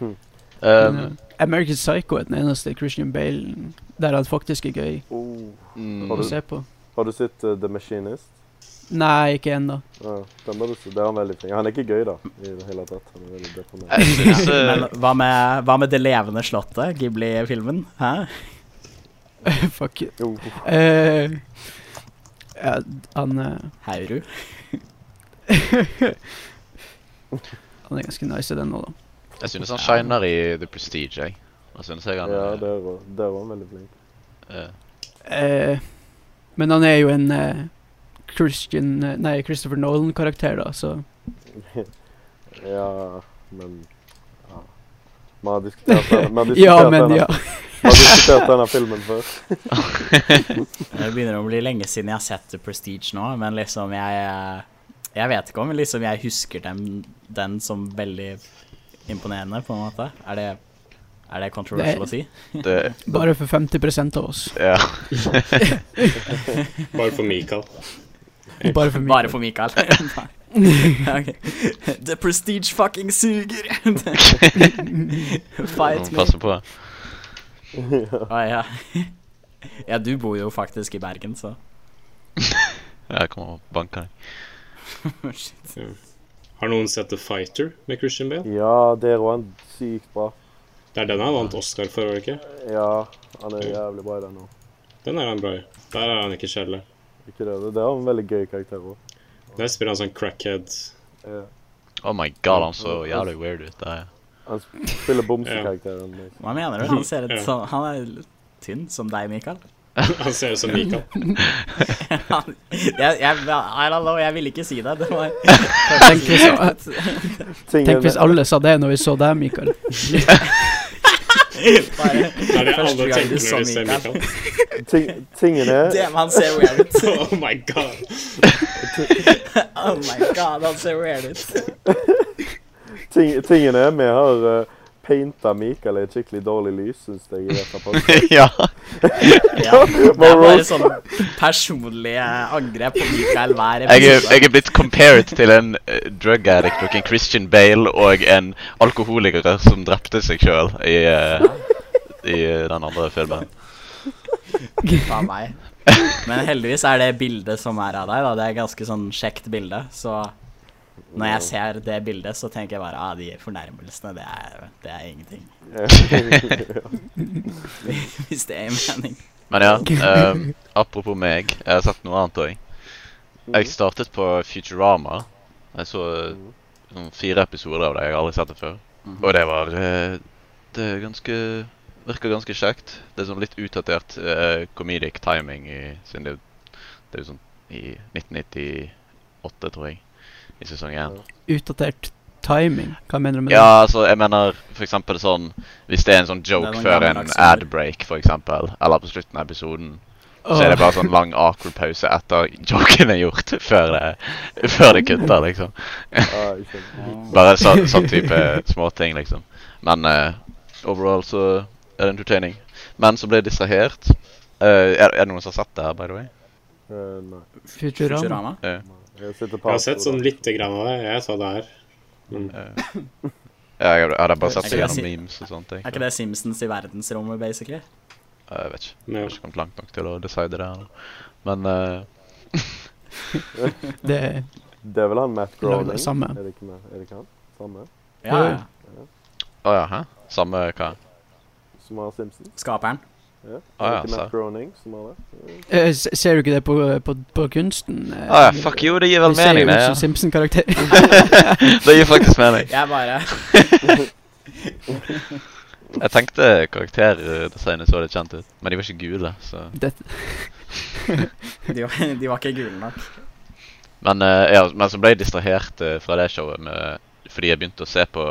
Um,
Men, eh, American Psycho er den eneste Christian Bale der han faktisk er gøy
Oh.
mm,
Har
å
du-
se på.
Har du sett eh, The Machinist?
Nei, ikke ennå.
Ja, den må du se. Det er han veldig flink. Han er ikke gøy, da. I det hele tatt. Han er veldig deprimerende.
jeg synes eh,
Men hva med, hva med Det levende slottet, Ghibli-filmen? Hæ?
Fuck it.
Jo.
Eh, ja, han, eh,
Hauru?
han er ganske nice i den nå, da.
Jeg synes han shiner i The Prestige, jeg. Jeg synes jeg han
Ja,
er-
der var der var han veldig flink.
eh,
Eh, men han er jo en eh, Christian eh, Nei, Christopher Nolan-karakter, da, så
Ja, men ja. Vi har diskutert den- vi har diskutert
Ja, men
denne-
ja.
vi har diskutert denne filmen før.
Det begynner å bli lenge siden jeg har sett The Prestige nå, men liksom jeg Jeg vet ikke om liksom jeg husker den, den som veldig imponerende, på en måte. Er det, er det controversial å si?
eh, det,
Bare for 50 av oss.
ja.
Bare for Mikael.
Bare for mye.
Bare for Mikael. Ok. The Prestige fucking suger!
Du
Fight
må
me.
passe på.
Å, ja. ja, du bor jo faktisk i Bergen, så
Jeg kommer og banker deg.
Shit.
Har noen sett The Fighter med Christian Bale?
Ja, der var han sykt bra.
Det er den han vant Oscar for, var det ikke?
Ja, han er jævlig bra i den nå.
Den er han bra i. Der er han ikke kjedelig.
Ikke det, det- det var en veldig gøy karakter òg.
Der spiller han sånn crackhead.
Oh my god, han så jævlig weird ut der.
Han spiller bomsekarakteren. liksom.
Hva mener du? Han ser ut
Ja.
som Han er litt tynn som deg, Mikael.
Han ser ut som Mikael.
Han, jeg, jeg, I don't know, jeg ville ikke si det. Det var
Tenk hvis,
Tingen-
tenk hvis alle sa det når vi så deg, Mikael.
bare
Det er det
Første
alle
gang
tenker
du
når
så
de ser
Mikael.
Mikael.
ting, tingen er
Damn, han ser weird ut.
Oh my god.
Oh my god, han ser weird ut.
ting, Tingen er vi har uh, painta Mikael i et skikkelig dårlig lys, syns jeg. i dette podcasten.
ja.
Ja, det er bare
Rose.
sånn personlige angrep på Mikael hver
Jeg er,
episode.
jeg er blitt compared til en eh, drug addict og en Christian Bale og en alkoholiker som drepte seg sjøl i, eh, i eh, den andre filmen.
Faen meg. Men heldigvis er det bildet som er av deg, da. Det er ganske sånn kjekt bilde, så når jeg ser det bildet, så tenker jeg bare ah, de fornærmelsene, det er, det er ingenting. Hvis det er en mening.
Men ja, eh, apropos meg, jeg har sett noe annet òg.
Mm.
Jeg startet på Futurama. Jeg så eh, sånn fire episoder av det. Jeg har aldri sett det før. Mm. Og det var eh, Det er ganske Virker ganske kjekt. Det er sånn litt utdatert eh, comedic timing i, siden det, det er jo sånn i 1998, tror jeg, i sesong én.
Utdatert Timing? Hva mener du med
Ja, altså, jeg mener for eksempel sånn Hvis det er en sånn
Det er
joke
noen
før en
gammeldags ord.
ad-break, for eksempel, eller på slutten av episoden, så er det bare sånn lang awkward pause etter joken er gjort, før det, før det kutter, liksom.
Ja, jeg skjønner.
Bare så, sånn type småting, liksom. Men eh, overall så er det entertaining. Men så ble jeg distrahert. Eh, er, er det noen som har sett det her, by the way? Eh,
Eh, nei.
det? Futurama?
Futurama?
Jeg, sitter på
Jeg har sett
avstand.
sånn lite grann av det. Jeg sa det her.
eh. Ja, jeg hadde- hadde bare sett
Er ikke
det
det
gjennom
si-
memes og sånt. Jeg,
Er ikke det Simpsons i verdensrommet, basically?
Eh, jeg vet ikke. Jeg
Men
har ikke kommet langt nok til å decide det her nå. Men eh,
Det
Det er vel han Matt
Lagde
Groening?
det samme.
Er det ikke, med- er det ikke han? Samme?
Ja, ja.
Å ja, hæ? Samme hva?
Som har Simpsons?
Skaperen.
Ja. er
Ah,
det
ja,
ikke
så-
Matt Groening som har det?
Eh, s- Ser du ikke det på, på, på kunsten?
Å
eh?
Ah, ja, fuck jo, det gir vel
Du ser
mening,
jo
det.
ut
Ja.
som Simpson-karakter.
Det gir faktisk mening.
Jeg bare
Jeg tenkte karakterdesignet så litt kjent ut, men de var ikke gule, så
Dette-
De var, de var ikke gule nok.
Men, eh, ja, men så ble jeg distrahert eh, fra det showet med, fordi jeg begynte å se på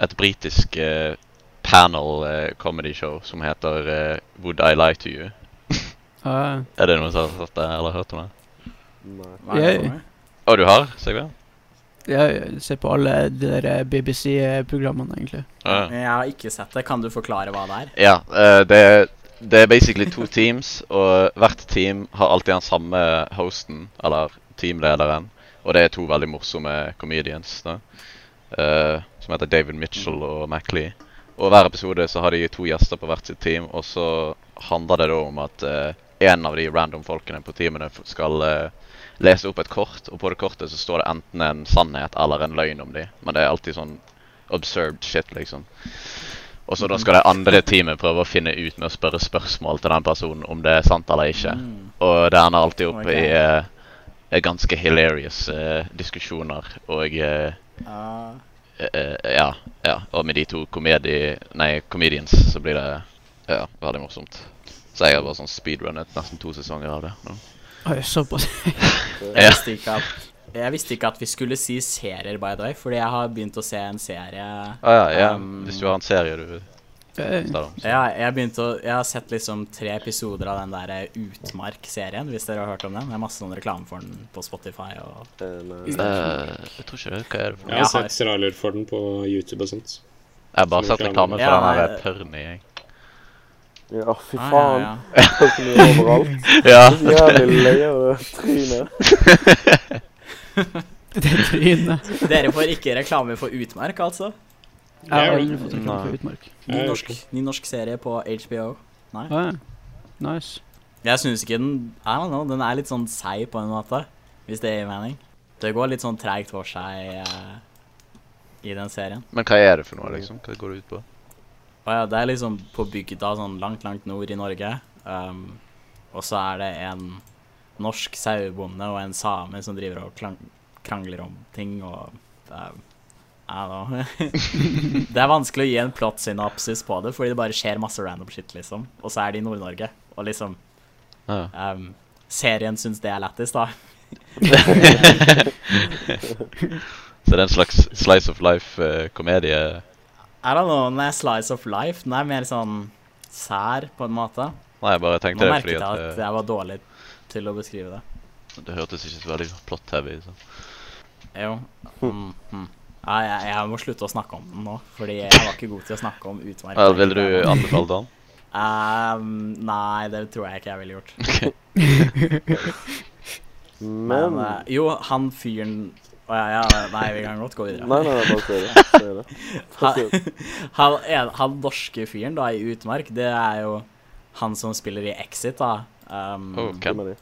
et britisk eh, panel eh, comedy show som heter eh, Would I Lie to You?
Ah,
Er det noen som har sett det eller hørt om det?
Nei.
Hva er det
Jeg-
for noe?
Å, du har? Sigve?
ja, jeg ser på alle de der eh, BBC-programmene, egentlig.
Ja.
Jeg har ikke sett det. Kan du forklare hva det er?
Ja, eh, det, er- det er basically to teams, og hvert team har alltid den samme hosten, eller teamlederen. Og det er to veldig morsomme comedians, da, eh, som heter David Mitchell og Mac Lee. Og hver episode så har de to gjester på hvert sitt team, og så handler det da om at eh, en av de random folkene på teamene f- skal eh, lese opp et kort, og på det kortet så står det enten en sannhet eller en løgn om de, men det er alltid sånn absurd shit, liksom. Og så da skal det andre teamet prøve å finne ut med å spørre spørsmål til den personen om det er sant eller ikke.
Mm.
Og det ender alltid opp
Ok.
i eh, eh, ganske hilarious eh, diskusjoner og eh,
Ah,
eh, eh, ja, ja. Og med de to komedi... Nei, comedians så blir det ja, veldig morsomt. Så jeg har bare sånn speedrunnet nesten to sesonger av det. nå.
Oi, såpass.
jeg,
Ja.
visste ikke at, jeg visste ikke at vi skulle si serier, by the way, fordi jeg har begynt å se en serie
Å Ah, ja, ja.
Um,
Hvis du har en serie du
Eh,
tar om. så-
ja, jeg, begynte å, jeg har sett liksom tre episoder av den der Utmark-serien, hvis dere har hørt om den. Det er masse sånn reklame for den på Spotify og
Eh, nei.
Eh, jeg tror ikke det. Hva er det for
jeg
noe?
Ja.
har sett trailer for den på YouTube og sånt.
Jeg har bare sett reklame for
Ja, eh,
den der
nei.
Perny, jeg.
Ja, fy
Ah,
faen.
ja,
Det er så mye overalt.
Ja.
Så Jævlig lei av det trynet.
det er trynet.
ja. Dere får ikke reklame for Utmark, altså?
Jeg har
Ja,
aldri fått reklame
Nei.
for Utmark.
Ny
Jeg
norsk, ny norsk serie på HBO.
Ah, nice.
Jeg syns ikke den I don't know, Den er litt sånn seig på en måte, hvis det gir mening. Det går litt sånn treigt for seg eh, i den serien.
Men hva er det for noe, liksom? Hva går det ut på?
Og ja, det er liksom på bygda sånn langt, langt nord i Norge. Um, og så er det en norsk sauebonde og en same som driver og klang krangler om ting og um, I don't know. det er vanskelig å gi en plottsynapsis på det, fordi det bare skjer masse random shit, liksom. Og så er det i Nord-Norge. Og liksom
Ja.
um, Serien syns det er lættis, da.
Så det er en slags slice of eh, life-komedie?
I don't know, den er slice of life. Den er mer sånn sær, på en måte.
Nei, jeg bare
Nå
tenkte det
merket
fordi
jeg
at
at
det,
jeg var dårlig til å beskrive det.
det hørtes ikke så veldig plot-heavy ut. sånn.
Jo. Mm, mm. Ja, jeg, jeg må slutte å snakke om den nå, fordi jeg var ikke god til å snakke om utmerket.
Vel, Ville du anbefale den?
Ehm, nei, det tror jeg ikke jeg ville gjort. Men,
Men
eh, Jo, han fyren Å ja, ja, nei, vi kan godt gå videre.
Nei, nei, nei, bare si det. Si det.
Han, han, en- han norske fyren da i Utmark, det er jo han som spiller i Exit, da. Um,
Oh,
Hvem
hvem?
er de?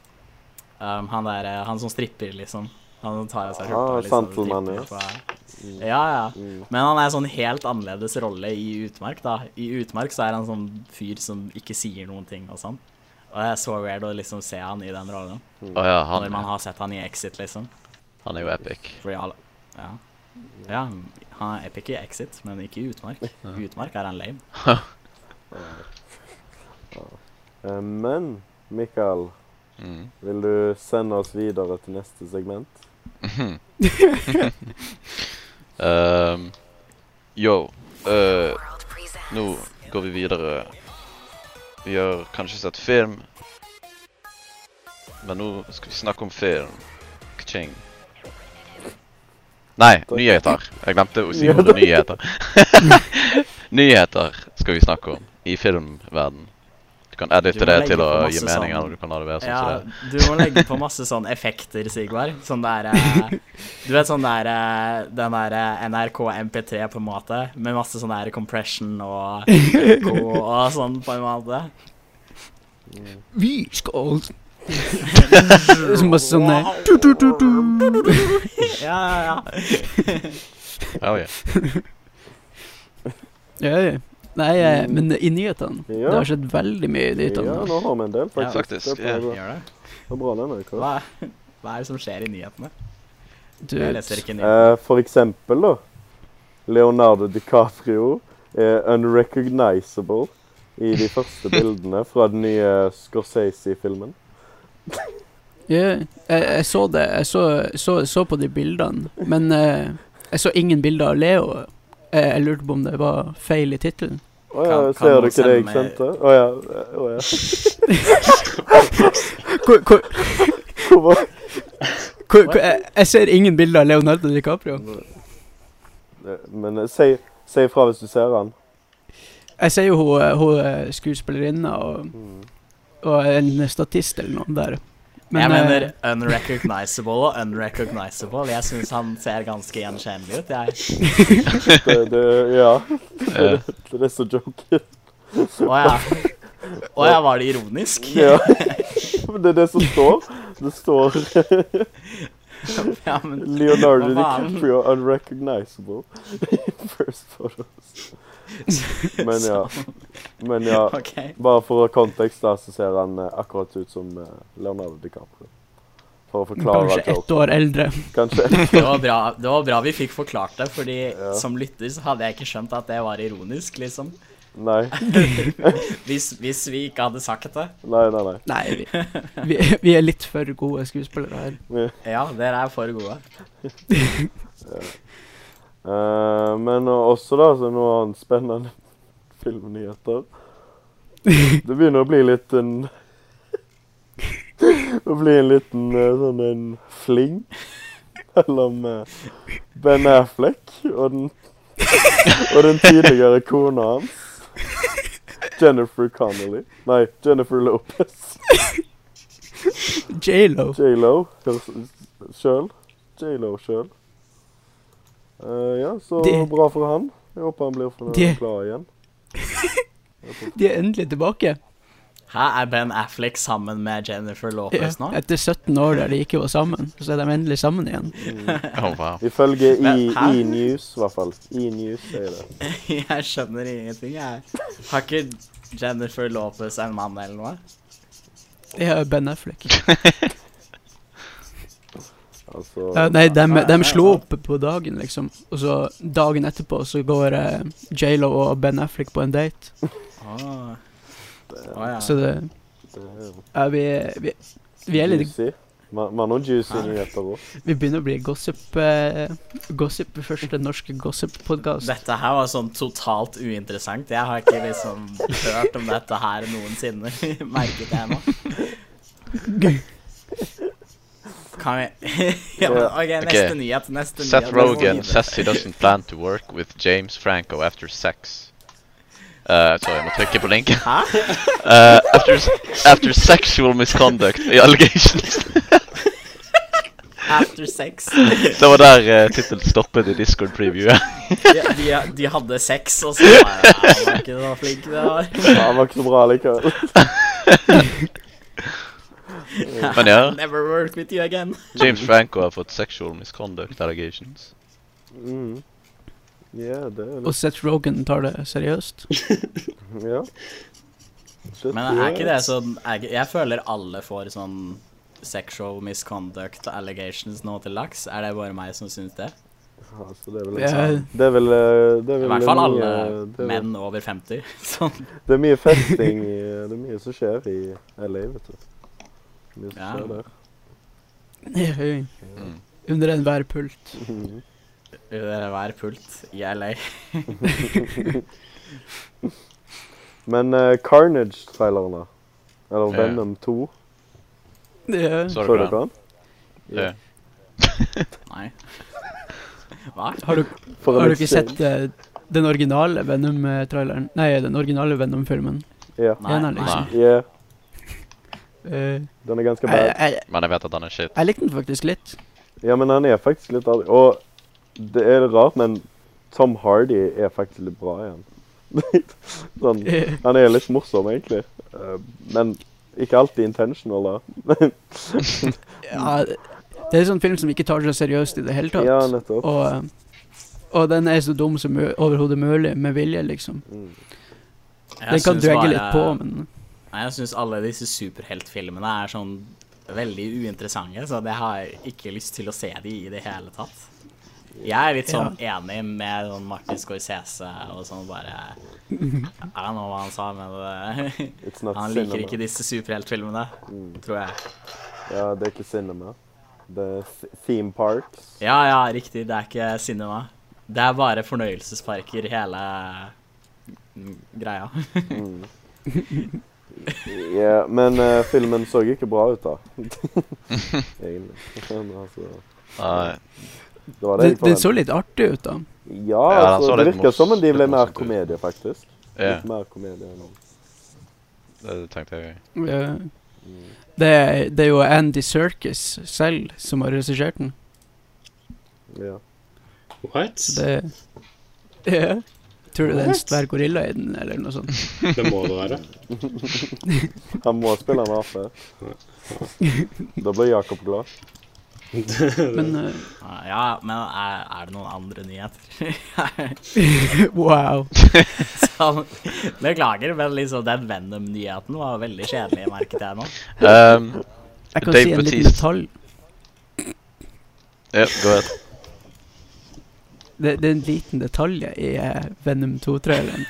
um, han, der, eh, han som stripper, liksom. Han som tar av seg
Ah,
skjorta. liksom, og
Santelmann,
stripper
ja.
på- Ja, ja.
Mm.
Men han er sånn helt annerledes rolle i Utmark, da. I Utmark så er han sånn fyr som ikke sier noen ting og sånn. Og det er så weird å liksom se han i den rollen,
mm.
Å ja,
når man
han,
har sett han i Exit, liksom.
han er jo epic.
Fordi alle Ja. ja han er epic i Exit, men ikke i Utmark. I Utmark er han lame.
Eh, Men Mikael,
Mm.
vil du sende oss videre til neste segment?
Mhm. Ehm, yo. eh, nå går vi videre. Vi har kanskje sett film. Men nå skal vi snakke om film. Kaching. Nei, nyheter. Jeg glemte å si ordet nyheter. nyheter skal vi snakke om i filmverden. Du kan
Du
edite
må
det
legge
til å
på
gi
masse
mening,
sånn-
eller du kan la det være sånn
Ja,
som det er.
du må legge på masse sånn effekter, Sigvard. Sånn der eh, Du vet sånn der eh, Den der eh, NRK MP3 på en måte, med masse sånn der compression og ekko og sånn på en måte.
Mm.
Vi skal Så masse sånn der tu, tu, tu, tu.
Ja, ja, ja.
Oh, yeah.
Ja, ja. Nei, eh, men i nyhetene
Ja.
Det har skjedd veldig mye i nyhetene.
Ja,
da.
nå har vi en del, faktisk.
faktisk,
Det er bra,
Gjør det.
det er bra den uka.
Hva, hva er det som skjer i nyhetene?
Du,
Jeg leser ikke nyhetene.
Eh, for eksempel, da. Leonardo DiCaprio er unrecognizable i de første bildene fra den nye Scorsese-filmen.
ja, jeg, jeg så det. Jeg så, så, så på de bildene. Men eh, jeg så ingen bilder av Leo. Jeg, jeg lurte på om det var feil i tittelen.
Å ja,
Kan- kan
ser du
noen
ikke det jeg
sende meg-
sendte? Å ja. eh, Å ja.
Hvor, hvor,
Hvor var-
hvor, hvor, jeg, jeg ser ingen bilder av Leonardo DiCaprio.
Eh, Men eh, si, si ifra hvis du ser han.
Jeg ser jo hun, eh, hun eh, skuespillerinna og, og en statist eller noen der.
jeg
eh,
mener unrecognizable og unrecognizable. Jeg syns han ser ganske gjenkjennelig ut. Jeg.
Det, det, ja.
Eh,
Det er så joker.
Å ja. Å ja, var det ironisk?
Ja. Men det er det som står. Det står
Ja, men
Leonardo
Hva faen?
DiCaprio unrecognizable. First photos. Men ja. Men ja.
OK.
Bare for kontekst, da, så ser han eh, akkurat ut som eh, Leonardo DiCaprio. For å forklare
Kanskje ett år eldre.
Kanskje
Det var, bra, det var bra vi fikk forklart det, fordi
Ja.
som lytter så hadde jeg ikke skjønt at det var ironisk, liksom.
Nei,
Hvis, hvis vi ikke hadde sagt det.
nei, nei. nei.
Nei, vi, vi, vi er litt for gode skuespillere her.
Ja, dere er for gode.
Eh, men også, da, så noen spennende filmnyheter. Det begynner å bli litt en Å bli en liten eh, sånn en fling mellom eh, Ben Affleck og den, og den tidligere kona hans. Jennifer Connolly. Nei, Jennifer Lopez.
J.Lo.
J.Lo sjøl. J.Lo sjøl. Eh, ja, så
Det-
bra for han. Jeg håper han blir fornøyd
Det-
og glad igjen.
De er endelig tilbake.
Her er Ben Affleck sammen med Jennifer
Ja,
Lopez nå.
etter 17 år der de ikke var sammen, så er de endelig sammen igjen.
oh, wow.
Ifølge
Men, hæ?
E-News, i hvert fall. E-News sier det.
Jeg skjønner ingenting, jeg. Har ikke Jennifer Lopez en mann eller noe?
Det er Ben Affleck.
Altså,
Ja, nei, de, slo opp på dagen, liksom. Og så dagen etterpå så går eh, J.Lo og Ben Affleck på en date.
Å ja.
Så det
det er jo
ja, vi, vi, vi er litt
juicy. Man har noen juicy nyheter òg.
Vi begynner å bli gossip... Eh, gossip første norske gossip-podkast.
Dette her var sånn totalt uinteressant. Jeg har ikke liksom hørt om dette her noensinne, merket jeg nå. Kan vi ja, men, OK, neste
Ok.
nyhet. Neste
Seth
nyhet. Neste
Rogen
nyhet.
says he doesn't plan to work with James Franco after sex. Uh, sorry, jeg må trykke på linken. Uh, after, s- after sexual misconduct i allegations.
After sex.
Det var der uh, tittelen stoppet i Discord-previewet.
De, de, de hadde sex, og så var jeg ja, han var ikke så flink. Det var.
Han var ikke så bra likevel.
Men ja,
Never work with you again.
James Franco har fått sexual misconduct allegations.
Mm. Ja, det er
Og
litt
Seth Rogan tar det seriøst.
Ja. Shit,
Men er ikke
ja.
det sånn er ikke- Jeg føler alle får sånn sexual misconduct allegations nå til dags. Er det bare meg som syns det?
Altså, det er vel
Ja.
Det er vel eh, Det er
I
vel
hvert fall
mye-
alle
det er vel-
menn over 50. Sånn.
Det er mye festing i Det er mye som skjer i LA, vet du. Mye som
Ja.
skjer der.
Mm.
Under enhver pult.
Under hver pult i LA.
Men eh, Carnage-traileren, da? Eller
Ja.
Venom 2?
Ja.
Så
Så
dere
dere
den?
den?
Ja.
Nei. Hva?
Har, du,
For en
har du ikke
exchange.
sett eh, den originale Venom-traileren? Nei, den originale Venom-filmen.
Ja.
Nei,
Eneren,
nei.
liksom.
Ja,
Eh,
Den er ganske
jeg,
bad.
jeg,
Men jeg vet at han er shit.
jeg likte den faktisk litt.
Ja, men han er faktisk litt artig. Og det er rart, men Tom Hardy er faktisk litt bra igjen. sånn,
Eh,
han er litt morsom, egentlig. Eh, men ikke alltid intentional, da.
ja, det er en sånn film som ikke tar seg seriøst i det hele tatt.
Ja, nettopp.
og, eh, og den er så dum som mu- overhodet mulig, med vilje, liksom.
Mm.
Jeg
Den kan
syns
dregge
bare-
litt på, men
Nei, jeg syns alle disse superheltfilmene er sånn veldig uinteressante, så jeg har ikke lyst til å se de i det hele tatt. Jeg er litt sånn enig med sånn Martin Scorsese og sånn bare Jeg vet ikke hva han sa, men det,
It's not
han
cinema.
liker ikke disse superheltfilmene,
Mm.
tror jeg.
Ja, det er ikke cinema. Det er th- theme parks.
Ja, ja, riktig, det er ikke cinema. Det er bare fornøyelsesparker, hele mm, greia.
Mm. Ja, men eh, filmen så ikke bra ut, da. Egentlig. Men, altså,
Nei.
det var det jeg
den, den
forventet.
så litt artig ut, da.
Ja,
Ja, den
altså,
så
det
litt
virker
mors-
som om de ble
litt
mer
morsomt ut.
komedie, faktisk.
Ja,
Litt mer komedie enn
det tenkte jeg.
Eh, Det, er- det er jo Andy Serkis selv som har regissert den.
ja.
What?
så Det Ja. Tror du det er en
What?
svær gorilla i den, eller noe sånt?
Det må det være.
Han må spille en ape. Da blir Jakob glad.
Øh.
Men eh,
Ja, men er, er det noen andre nyheter?
øh, wow.
Sånn, Beklager, men liksom den Venom-nyheten var veldig kjedelig, merket jeg nå.
Um,
Jeg kan
Dave
si en liten
Bautista.
detalj.
ja, gå ahead.
Det, det er en liten detalj i eh, Venom 2-traileren.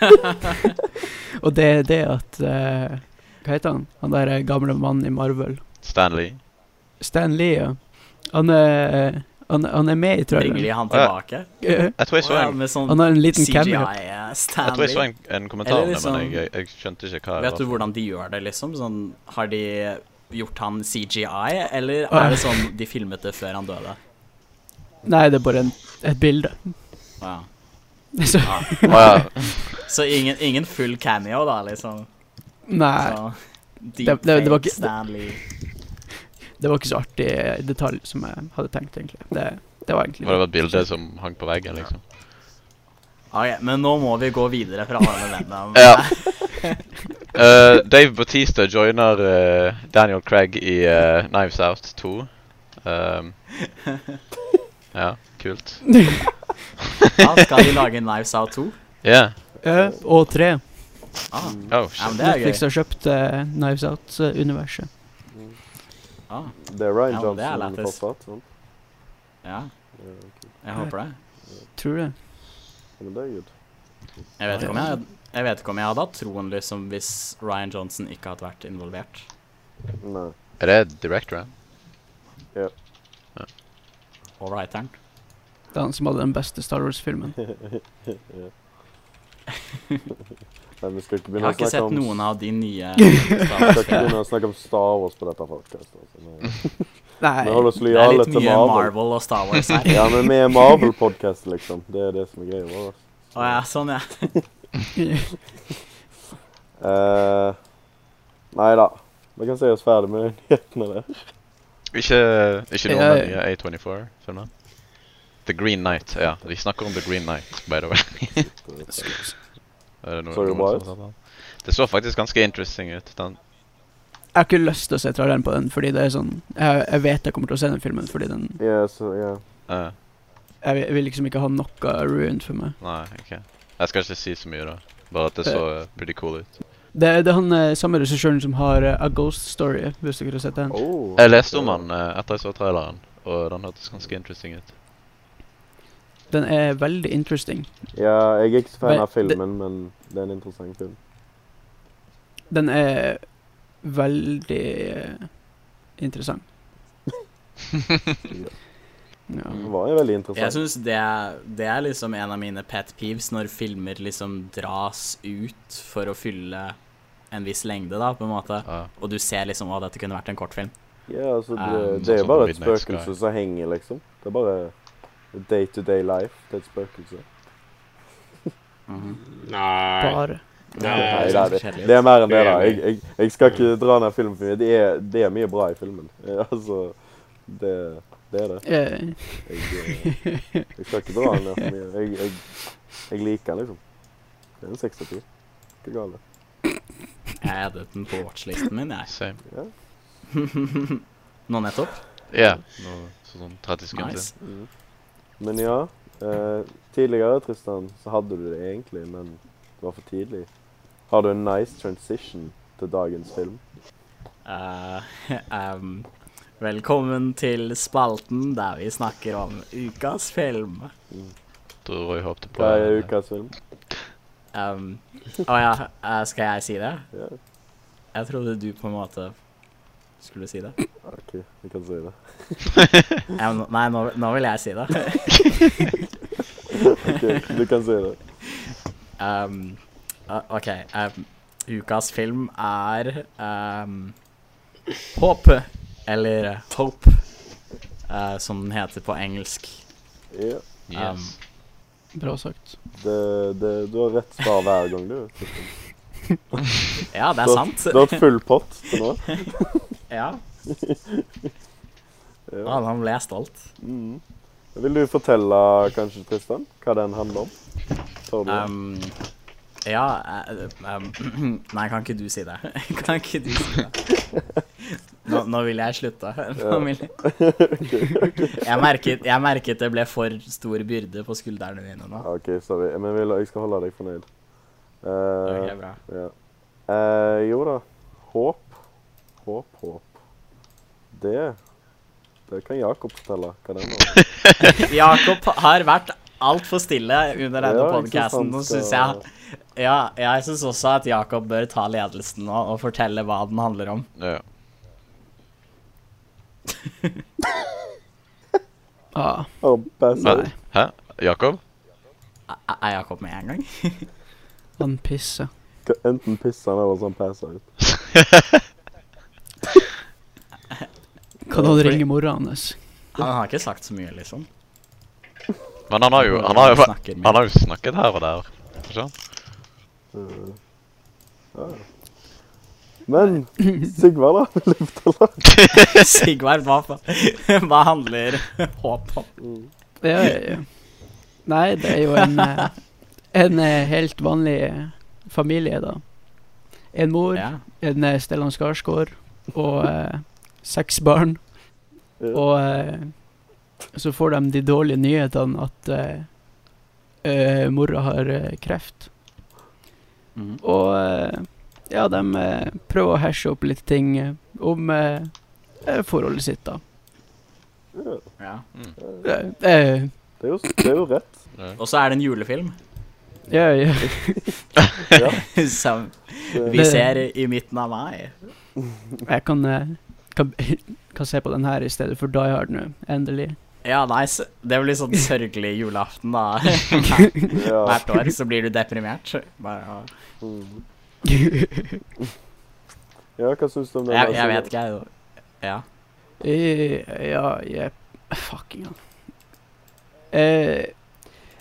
Og det er det at eh, Hva heter han? Han der eh, gamle mannen i Marvel.
Stanley.
Stan Lee, ja. Han er, eh, han, han er med i
Bringer
traileren.
de han tilbake?
Eh,
Jeg tror jeg
Å
så
ja,
en,
med sånn
Han har en liten cameo.
jeg tror jeg så
CGI-Stanley.
en, en kommentar om
Eller
det, men
liksom-
jeg, jeg skjønte ikke hva det
Vet du
var.
hvordan de gjør det, liksom? Sånn, har de gjort han CGI, eller
Ah.
er det sånn de filmet det før han døde?
Nei, det er bare en, et bilde.
Ja.
Så,
Å Ah, ja.
Så ingen, ingen full cameo, da, liksom?
nei,
Så,
det- det var ikke-
Stanley.
det var ikke så artig eh, detalj som jeg hadde tenkt, egentlig. Det, det var egentlig
Var det bare et bilde som hang på veggen, liksom?
Ok, men nå må vi gå videre fra denne Venom.
Ja. Eh, Dave Bautista joiner eh, Daniel Craig i eh, Knives Out 2. Um, ja, kult.
Ja, skal de lage Knives Out 2?
Yeah.
Eh, og tre.
Ah,
Mm.
Oh,
ja,
shit.
men det er
Netflix
gøy.
har kjøpt eh, Knives Out-universet.
Ah,
Det er Ryan
Ja, men det er
Johnson
lættis.
fortsatt. sant?
ja,
Ja, ok.
jeg håper det.
Tror det.
Men det er good.
Jeg vet, ikke om jeg, jeg vet ikke om jeg hadde hatt troen liksom, hvis Ryan Johnson ikke hadde vært involvert.
Nei.
Er det directoren?
Og writeren.
Det er han som hadde den beste Star Wars-filmen.
Nei, vi skal ikke
Jeg
begynne
har
å
ikke
snakke
sett
om
noen av de nye
vi skal ikke
Star Wars-filmene.
begynne å snakke om Star Wars på dette podkastet. Altså. Nå-
Nei,
Vi holder oss
Det er
lojale
litt
til
mye
Marvel.
Marvel og Star Wars her.
Ja, men vi er Marvel-podkast, liksom. Det er det som er greia vår.
Å ja, sånn, ja.
Eh, nei da. Vi kan se oss ferdig med de nyhetene der.
Ikke, ikke noen av
Ja,
de nye A24-filmene? The Green Knight, ja. De snakker om The Green Knight, by the way. Er det noe-
Så det
noen
bra
som har sett den? Det så faktisk ganske interesting ut. Den,
jeg har ikke lyst til å se traileren på den, fordi det er sånn Jeg, jeg vet jeg kommer til å se den filmen, fordi den
Ja, så, ja.
eh,
Jeg vil- jeg vil liksom ikke ha noe ruined for meg.
nei, ok. Jeg skal ikke si så mye, da. Bare at det så eh, pretty cool ut.
Det, det er han eh, samme regissøren som har eh, A Ghost Story, hvis dere har sett den.
Oh,
Jeg leste om den eh, etter jeg så traileren, og den hørtes ganske interesting ut.
Den er veldig interesting.
Ja, jeg er ikke så fan
Men
av
det-
filmen, men det er en interessant film.
Den er veldig eh, interessant. Ja.
Det var jo veldig interessant.
Jeg syns det, er- det er liksom en av mine pet peeves når filmer liksom dras ut for å fylle en viss lengde, da, på en måte.
Ja.
Og du ser liksom at dette kunne vært en kortfilm.
Ja, altså, det,
Um,
det er jo
sånn
bare et
Midnight
spøkelse
Sky.
som henger, liksom. Det er bare day to day life. Det er et spøkelse.
Nei.
Bare.
Det
Nei,
er,
Mhm. det, er,
sånn
altså.
forskjellig.
det er mer enn det, da.
Uenig.
Jeg, jeg, jeg skal ikke dra ned filmen for mye. Det er, det er mye bra i filmen. Eh, Altså, det, det er det.
Eh,
Jeg, eh, jeg skal ikke dra den ned for mye. Jeg, jeg, jeg liker den, liksom. Det er en seks av ti. Ikke galt.
Jeg edit den på watchlisten min, jeg.
Same.
Nå nettopp.
Ja. nå- så Sånn 30 sekunder
Nice.
Mm. Men ja, eh, tidligere, Tristan, så hadde du det egentlig, men det var for tidlig. Har du en nice transition til dagens film?
Eh, em, velkommen til spalten der vi snakker om ukas film.
Mm.
til. Roy håpte på
Hva er
en,
ukas film?
Um, Å ja, eh, skal jeg si det?
Ja.
Jeg trodde du på en måte skulle si det.
OK, jeg kan si det.
Ja, men nå- nei, nå, nå vil jeg si det.
Ok, du kan si det.
Um, eh, OK. Um, ukas film er um, Håp, eller eh, Hope, eh, som den heter på engelsk.
Ja.
Yes.
bra sagt.
Det, det, du har rett svar hver gang, du.
Ja, det er
Du har-
sant.
Du har hatt full pott til nå.
Ja,
Ja.
Faen, han ble stolt.
Mm. Vil du fortelle kanskje, Tristan, hva den handler om? Tør du? det?
Um, ja eh, um, Nei, kan ikke du si det? Kan ikke du si det? Nå, nå vil jeg slutte. Nå vil jeg. Jeg, merket, jeg merket det ble for stor byrde på skuldrene mine nå.
OK, sorry. Men vil, jeg skal holde deg fornøyd. Eh,
Ok, bra.
ja. Eh, jo da. Håp. Håp, håp. Det Det kan Jakob fortelle hva den var.
Jakob har vært altfor stille under denne
Ja, ikke
podcasten.
sant,
Nå synes
skal-
jeg ja, jeg syns også at Jakob bør ta ledelsen nå og fortelle hva den handler om.
Ja.
Ah,
Oh, best.
Nei. Hæ? Jakob?
Er- Er Jakob med en gang?
han pisser.
Enten pisser han eller så han passer ut.
Kan han ringe mora hans?
Han har ikke sagt så mye, liksom.
Men han har jo, han har jo,
Han snakker mye.
han har jo snakket her og der. Ikke sant?
Men Sigvard, da? Vil du fortelle?
Sigvard, hva, fa- hva handler håp om?
Ja, ja, ja. Nei, det er jo en, eh, en eh, helt vanlig eh, familie, da. En mor,
Ja.
en eh, Stellan Skarsgård og eh, seks barn.
Ja.
Og eh, så får de de dårlige nyhetene at eh, eh, mora har eh, kreft.
Mhm.
Og eh, ja, de eh, prøver å hashe opp litt ting eh, om eh, eh, forholdet sitt, da.
Ja.
Eh, eh,
Det er jo, det er jo rett.
Og så er det en julefilm
ja, ja.
som
Det,
vi ser i midten av mai.
Jeg kan, eh, kan, kan se på den her i stedet for Die Hard nå, endelig.
Ja, nice. Det blir sånn sørgelig julaften, da.
ja.
Hvert år så blir du deprimert. Bare, å-
Mm. ja, hva syns du om den?
jeg, jeg vet ikke, jeg. Ja.
Eh, ja, jeg Fucking hell. Eh,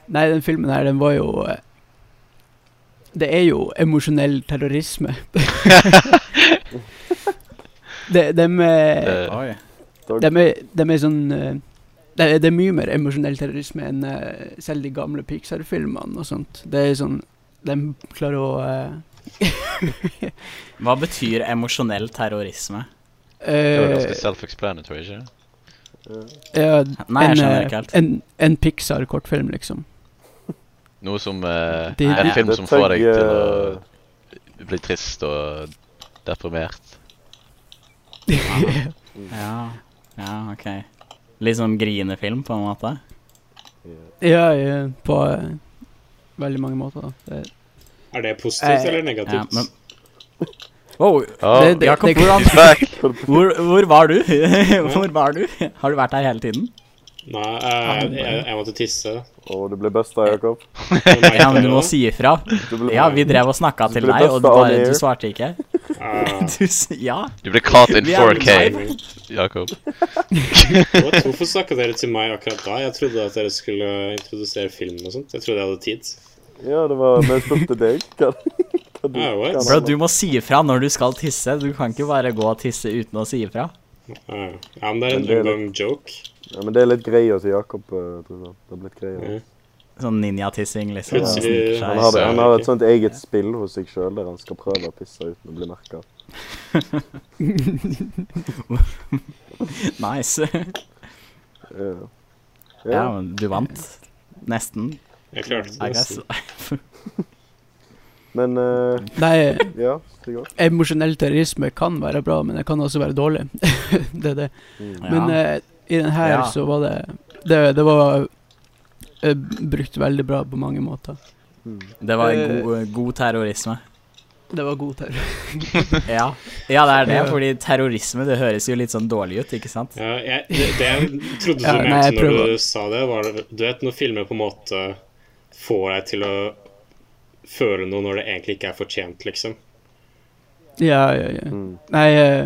nei, den filmen her, den var jo eh, Det er jo emosjonell terrorisme. de, dem, eh,
Det,
Oi.
dem, er, dem er sånn eh, det er, det er mye mer emosjonell terrorisme enn eh, selv de gamle Pixar-filmene og sånt. Det er sånn De klarer å eh,
Hva betyr emosjonell terrorisme?
det var
eh,
ganske self-explanatory, ikke det?
Ja,
Nei, jeg
en,
skjønner
eh,
ikke helt.
En, en Pixar-kortfilm, liksom.
Noe som eh,
Det-
En
det-
film
det
som får deg
tenker-
til å bli trist og deprimert.
Ja, ja ok. Litt sånn grinefilm, på en måte.
Ja, ja på eh, veldig mange måter, da. Det,
er det positivt
Eh,
eller
Ja,
negativt?
men... Wow,
Oh,
det, det,
Jakob,
det,
hvordan
he's back!
Hvor, hvor var du? Hvor var du? Har du vært her hele tiden?
Nei, eh, jeg, jeg, jeg måtte tisse.
Og du blir busta, Jakob.
Ja, men du må si ifra.
Du blir-
Ja, vi drev og snakka til
Blir
deg, og du,
busta on
bare,
air.
du svarte ikke.
Ah,
Du, s- ja.
Du ble caught in
Vi er
4K,
live.
Jakob.
what? Hvorfor snakka dere til meg akkurat da? Jeg trodde at dere skulle introdusere filmen og sånt. Jeg trodde jeg hadde tid.
Ja, det var Vi spurte deg. Hva, hva du,
Ah, what?
hva
Bro, du må si ifra når du skal tisse. Du kan ikke bare gå og tisse uten å si ifra.
Ah, ja, men det er en
Det er
omgang joke.
Ja, men det er litt greia til Jakob. eh, Tror jeg. Det er blitt greia.
Ja.
Sånn ninja-tissing, liksom.
Plutselig-
som sniker
Han
seg.
har,
så
det,
er
han
det
har
ikke.
et sånt eget spill hos seg sjøl der han skal prøve å pisse uten å bli merka.
Nice.
Ja.
Ja,
Ja.
men du vant. Nesten,
Jeg klarte
I
det
guess.
nesten.
Men eh,
Nei,
ja, stig òg.
emosjonell terrorisme kan være bra, men det kan også være dårlig. det er det. Men
Ja.
eh, i den her
Ja.
så var det Det, det var eh, brukt veldig bra på mange måter.
Det var
eh,
god, god terrorisme.
Det var god terror.
Ja. ja, det er det,
Ja.
fordi terrorisme det høres jo litt sånn dårlig ut, ikke sant?
Ja, jeg, det, det jeg trodde du
Ja, nei,
mente
jeg
når
prøver.
du sa det, var Du vet når filmer på en måte får deg til å føle noe når det egentlig ikke er fortjent, liksom.
Ja, ja, ja.
Mm.
Nei, eh,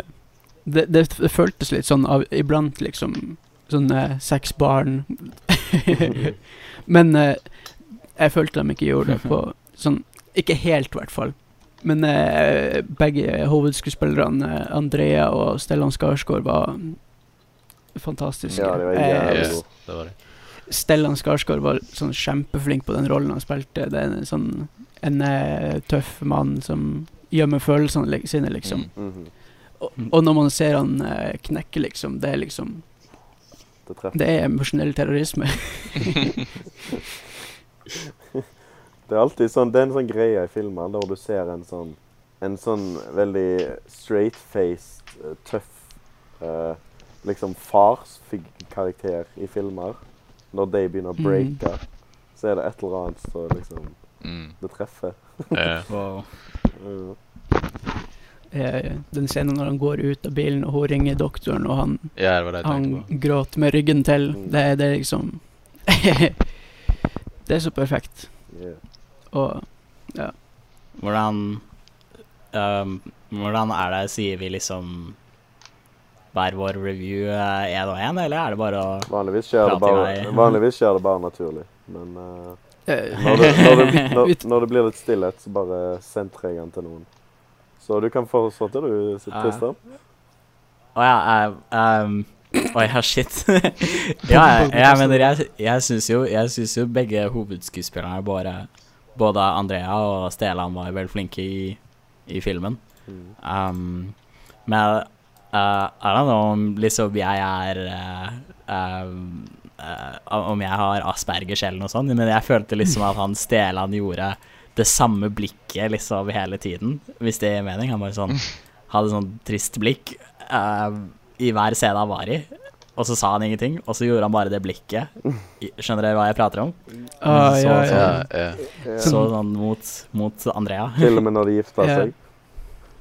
det, det, f- det føltes litt sånn av, iblant, liksom. Sånn eh, seks barn. Men eh, jeg følte de ikke gjorde det på sånn Ikke helt, i hvert fall. Men eh, begge hovedskuespillerne, eh, Andrea og Stellan Skarsgård, var fantastiske.
Ja, det var
Eh,
jævlig
Ja.
god.
Det var det.
Stellan Skarsgård var sånn kjempeflink på den rollen han spilte. Det er en sånn en eh, tøff mann som gjemmer følelsene li- sine, liksom.
Mm.
Mhm.
Og, og når man ser han eh, knekke, liksom, det er liksom
Det treffer.
Det er emosjonell terrorisme.
Det er alltid sånn, det er en sånn greie i filmer der du ser en sånn, en sånn veldig straight-faced, eh, tøff, eh, liksom farskarakter i filmer. Når de begynner å
Mhm.
breake, så er det et eller annet som liksom,
Mm.
det treffer.
Eh,
Wow.
Mm.
Eh, den scenen når han går ut av bilen, og hun ringer doktoren, og han,
ja, det var det jeg
han
tenkte på.
gråter med ryggen til,
Mm.
det, er- det er liksom Det er så perfekt.
Yeah.
Og
Hvordan ehm, Hvordan er det, sier vi liksom hver vår review én og én, eller er det bare å
Vanligvis skjer, det
Prat i
bare,
vei.
vanligvis skjer det bare naturlig, men eh,
eh,
når, det, når, det, når, når det blir litt stillhet, så bare sentrer jeg den til noen. Så du kan fortsette du,
Ja.
Tristan.
Å ja, eh, ehm, Oi, ja, shit. ja, jeg, jeg mener, jeg, jeg syns jo, jeg synes jo begge hovedskuespillerne, bare, både Andrea og Stelan, var veldig flinke i, i filmen.
Mm.
Um, men uh, I don't know om liksom jeg er eh, um, eh, Om jeg har aspergers eller noe sånt, men jeg følte liksom at han Stelan gjorde det samme blikket liksom hele tiden, hvis det gir mening. Han bare sånn hadde sånn trist blikk eh, i hver scene han var i. Og så sa han ingenting, og så gjorde han bare det blikket. I- Skjønner dere hva jeg prater om?
ah,
Så-
ja,
Ja,
ja.
eh.
Ja.
Så sånn mot, mot Andrea.
Til og med når de gifter
Ja.
seg.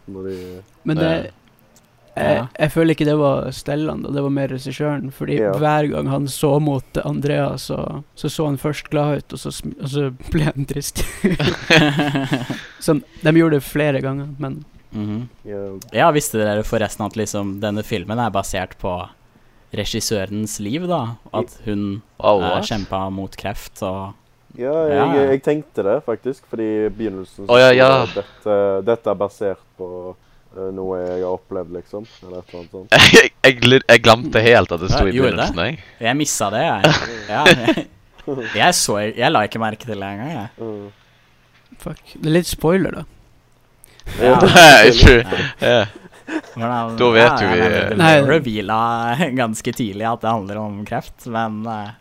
Når de,
Men det
Ja.
jeg,
Ja.
jeg føler ikke det var Stellan, da. Det var mer regissøren. Fordi
Ja.
hver gang han så mot Andrea, så så, så han først glad ut, og så, sm- og så ble han trist. sånn, de gjorde det flere ganger, men
Mhm.
ja,
Ja, visste dere forresten at liksom denne filmen er basert på regissørens liv, da? At hun
Wow,
eh,
what?
kjempa mot kreft og
ja,
Ja.
jeg, jeg tenkte det faktisk, fordi i begynnelsen
Å,
sto
ja,
det
ja.
at dette, dette er basert på eh, noe jeg har opplevd, liksom. Eller et eller annet sånt.
jeg, jeg, gl- jeg glemte helt at det sto
Ja,
i
gjorde det?
begynnelsen, jeg.
Jeg missa det, jeg. Ja, jeg, jeg så Jeg la ikke merke til det engang, jeg.
Mm.
fuck. Det er litt spoiler, da.
Ja.
Nei, ikke- ja.
Hvordan-
Da
ja,
vet jo
ja, nei,
vi-
men Det
Nei.
ble reveala ganske tidlig at det handler om kreft, men eh,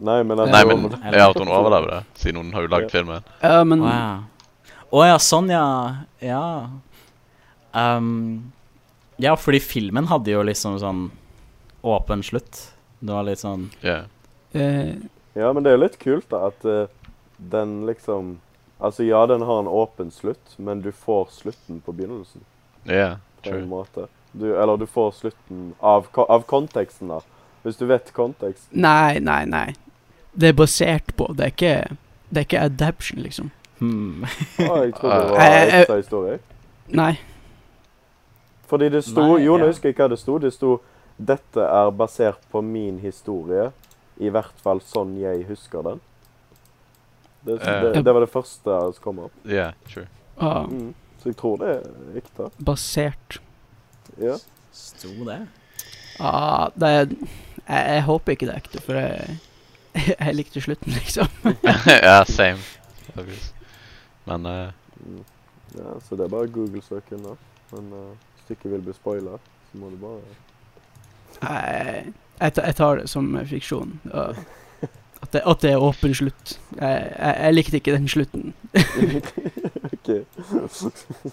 Nei, men at
Nei,
det
men
var-
jeg har hørt hun overlever det, siden hun har jo lagd filmen.
Ja, men
Wow. Å ja, sånn, ja. Ja. Ehm, ja, fordi filmen hadde jo liksom sånn åpen slutt. Det var litt sånn
Ja.
eh,
Ja, men det er jo litt kult da, at eh, den liksom Altså ja, den har en åpen slutt, men du får slutten på begynnelsen.
Ja,
på en
true.
måte. Du, eller du får slutten av, ko- av konteksten, da. Hvis du vet kontekst.
Nei, nei, nei. Det er basert på Det er ikke, det er ikke adaption, liksom.
Hmm.
Å, jeg trodde det
Eh,
var
eh,
ekstra historie.
Nei.
Fordi det sto
Nei,
Jo, nå
ja.
husker jeg hva det sto. Det sto 'Dette er basert på min historie'. I hvert fall sånn jeg husker den. Det,
Eh.
det, det var det første som kom opp.
Yeah, true.
Ah,
Mm. Så jeg tror det er riktig.
basert
Ja.
Sto det?
ah, det er, jeg, jeg håper ikke det er ekte, for jeg, jeg likte slutten, liksom.
ja, same. Obvious. Men eh,
Mm. ja. Så det er bare Google-søken, da. Men eh, hvis du ikke vil bli spoila, så må du bare
Jeg, jeg, ta- jeg tar det som fiksjon. og At det, at det er åpen slutt. Jeg, jeg, jeg likte ikke den slutten.
OK.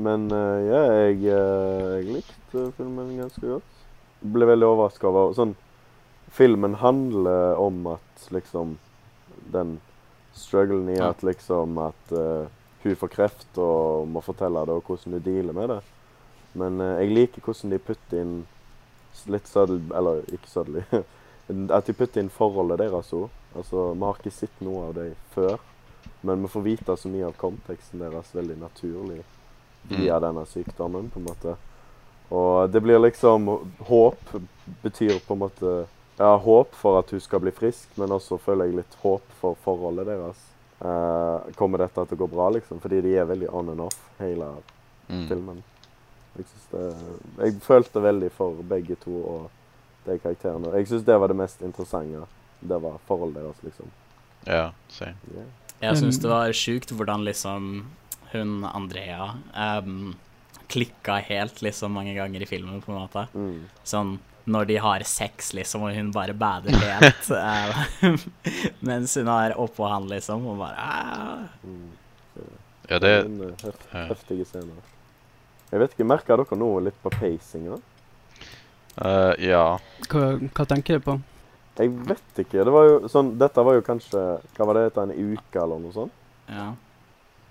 Men eh, ja, jeg, eh, jeg likte filmen ganske godt. Ble veldig overraska over sånn Filmen handler om at liksom Den strugglen i
Ja.
at liksom at eh, hun får kreft og må fortelle det, og hvordan hun dealer med det. Men eh, jeg liker hvordan de putter inn s- litt sødel... Eller ikke sødelig. at de putter inn forholdet deres òg. Altså, vi har ikke sett noe av det før. Men vi får vite så mye av konteksten deres veldig naturlig via denne sykdommen, på en måte. Og det blir liksom Håp betyr på en måte Ja, håp for at hun skal bli frisk, men også føler jeg litt håp for forholdet deres. Eh, kommer dette til å gå bra, liksom? Fordi de er veldig on and off, hele
mm.
filmen. Jeg, synes det, jeg følte veldig for begge to og de karakterene. Jeg syns det var det mest interessante. Det var forholdet deres, liksom.
Ja, same.
Yeah.
Jeg syns
Mm.
det var sjukt hvordan liksom hun Andrea um, klikka helt liksom mange ganger i filmen, på en måte.
Mm.
Sånn når de har sex, liksom, og hun bare bader helt eh, mens hun er oppå han, liksom, og bare ah.
Mm.
Ja, det
Men, eh, heft,
ja.
Heftige scener. Jeg vet ikke, Merker dere noe litt på pacinga?
eh, Ja.
Hva, hva tenker du på?
Jeg vet ikke. Det var jo sånn, dette var jo kanskje hva var det etter en uke eller noe sånt.
Ja.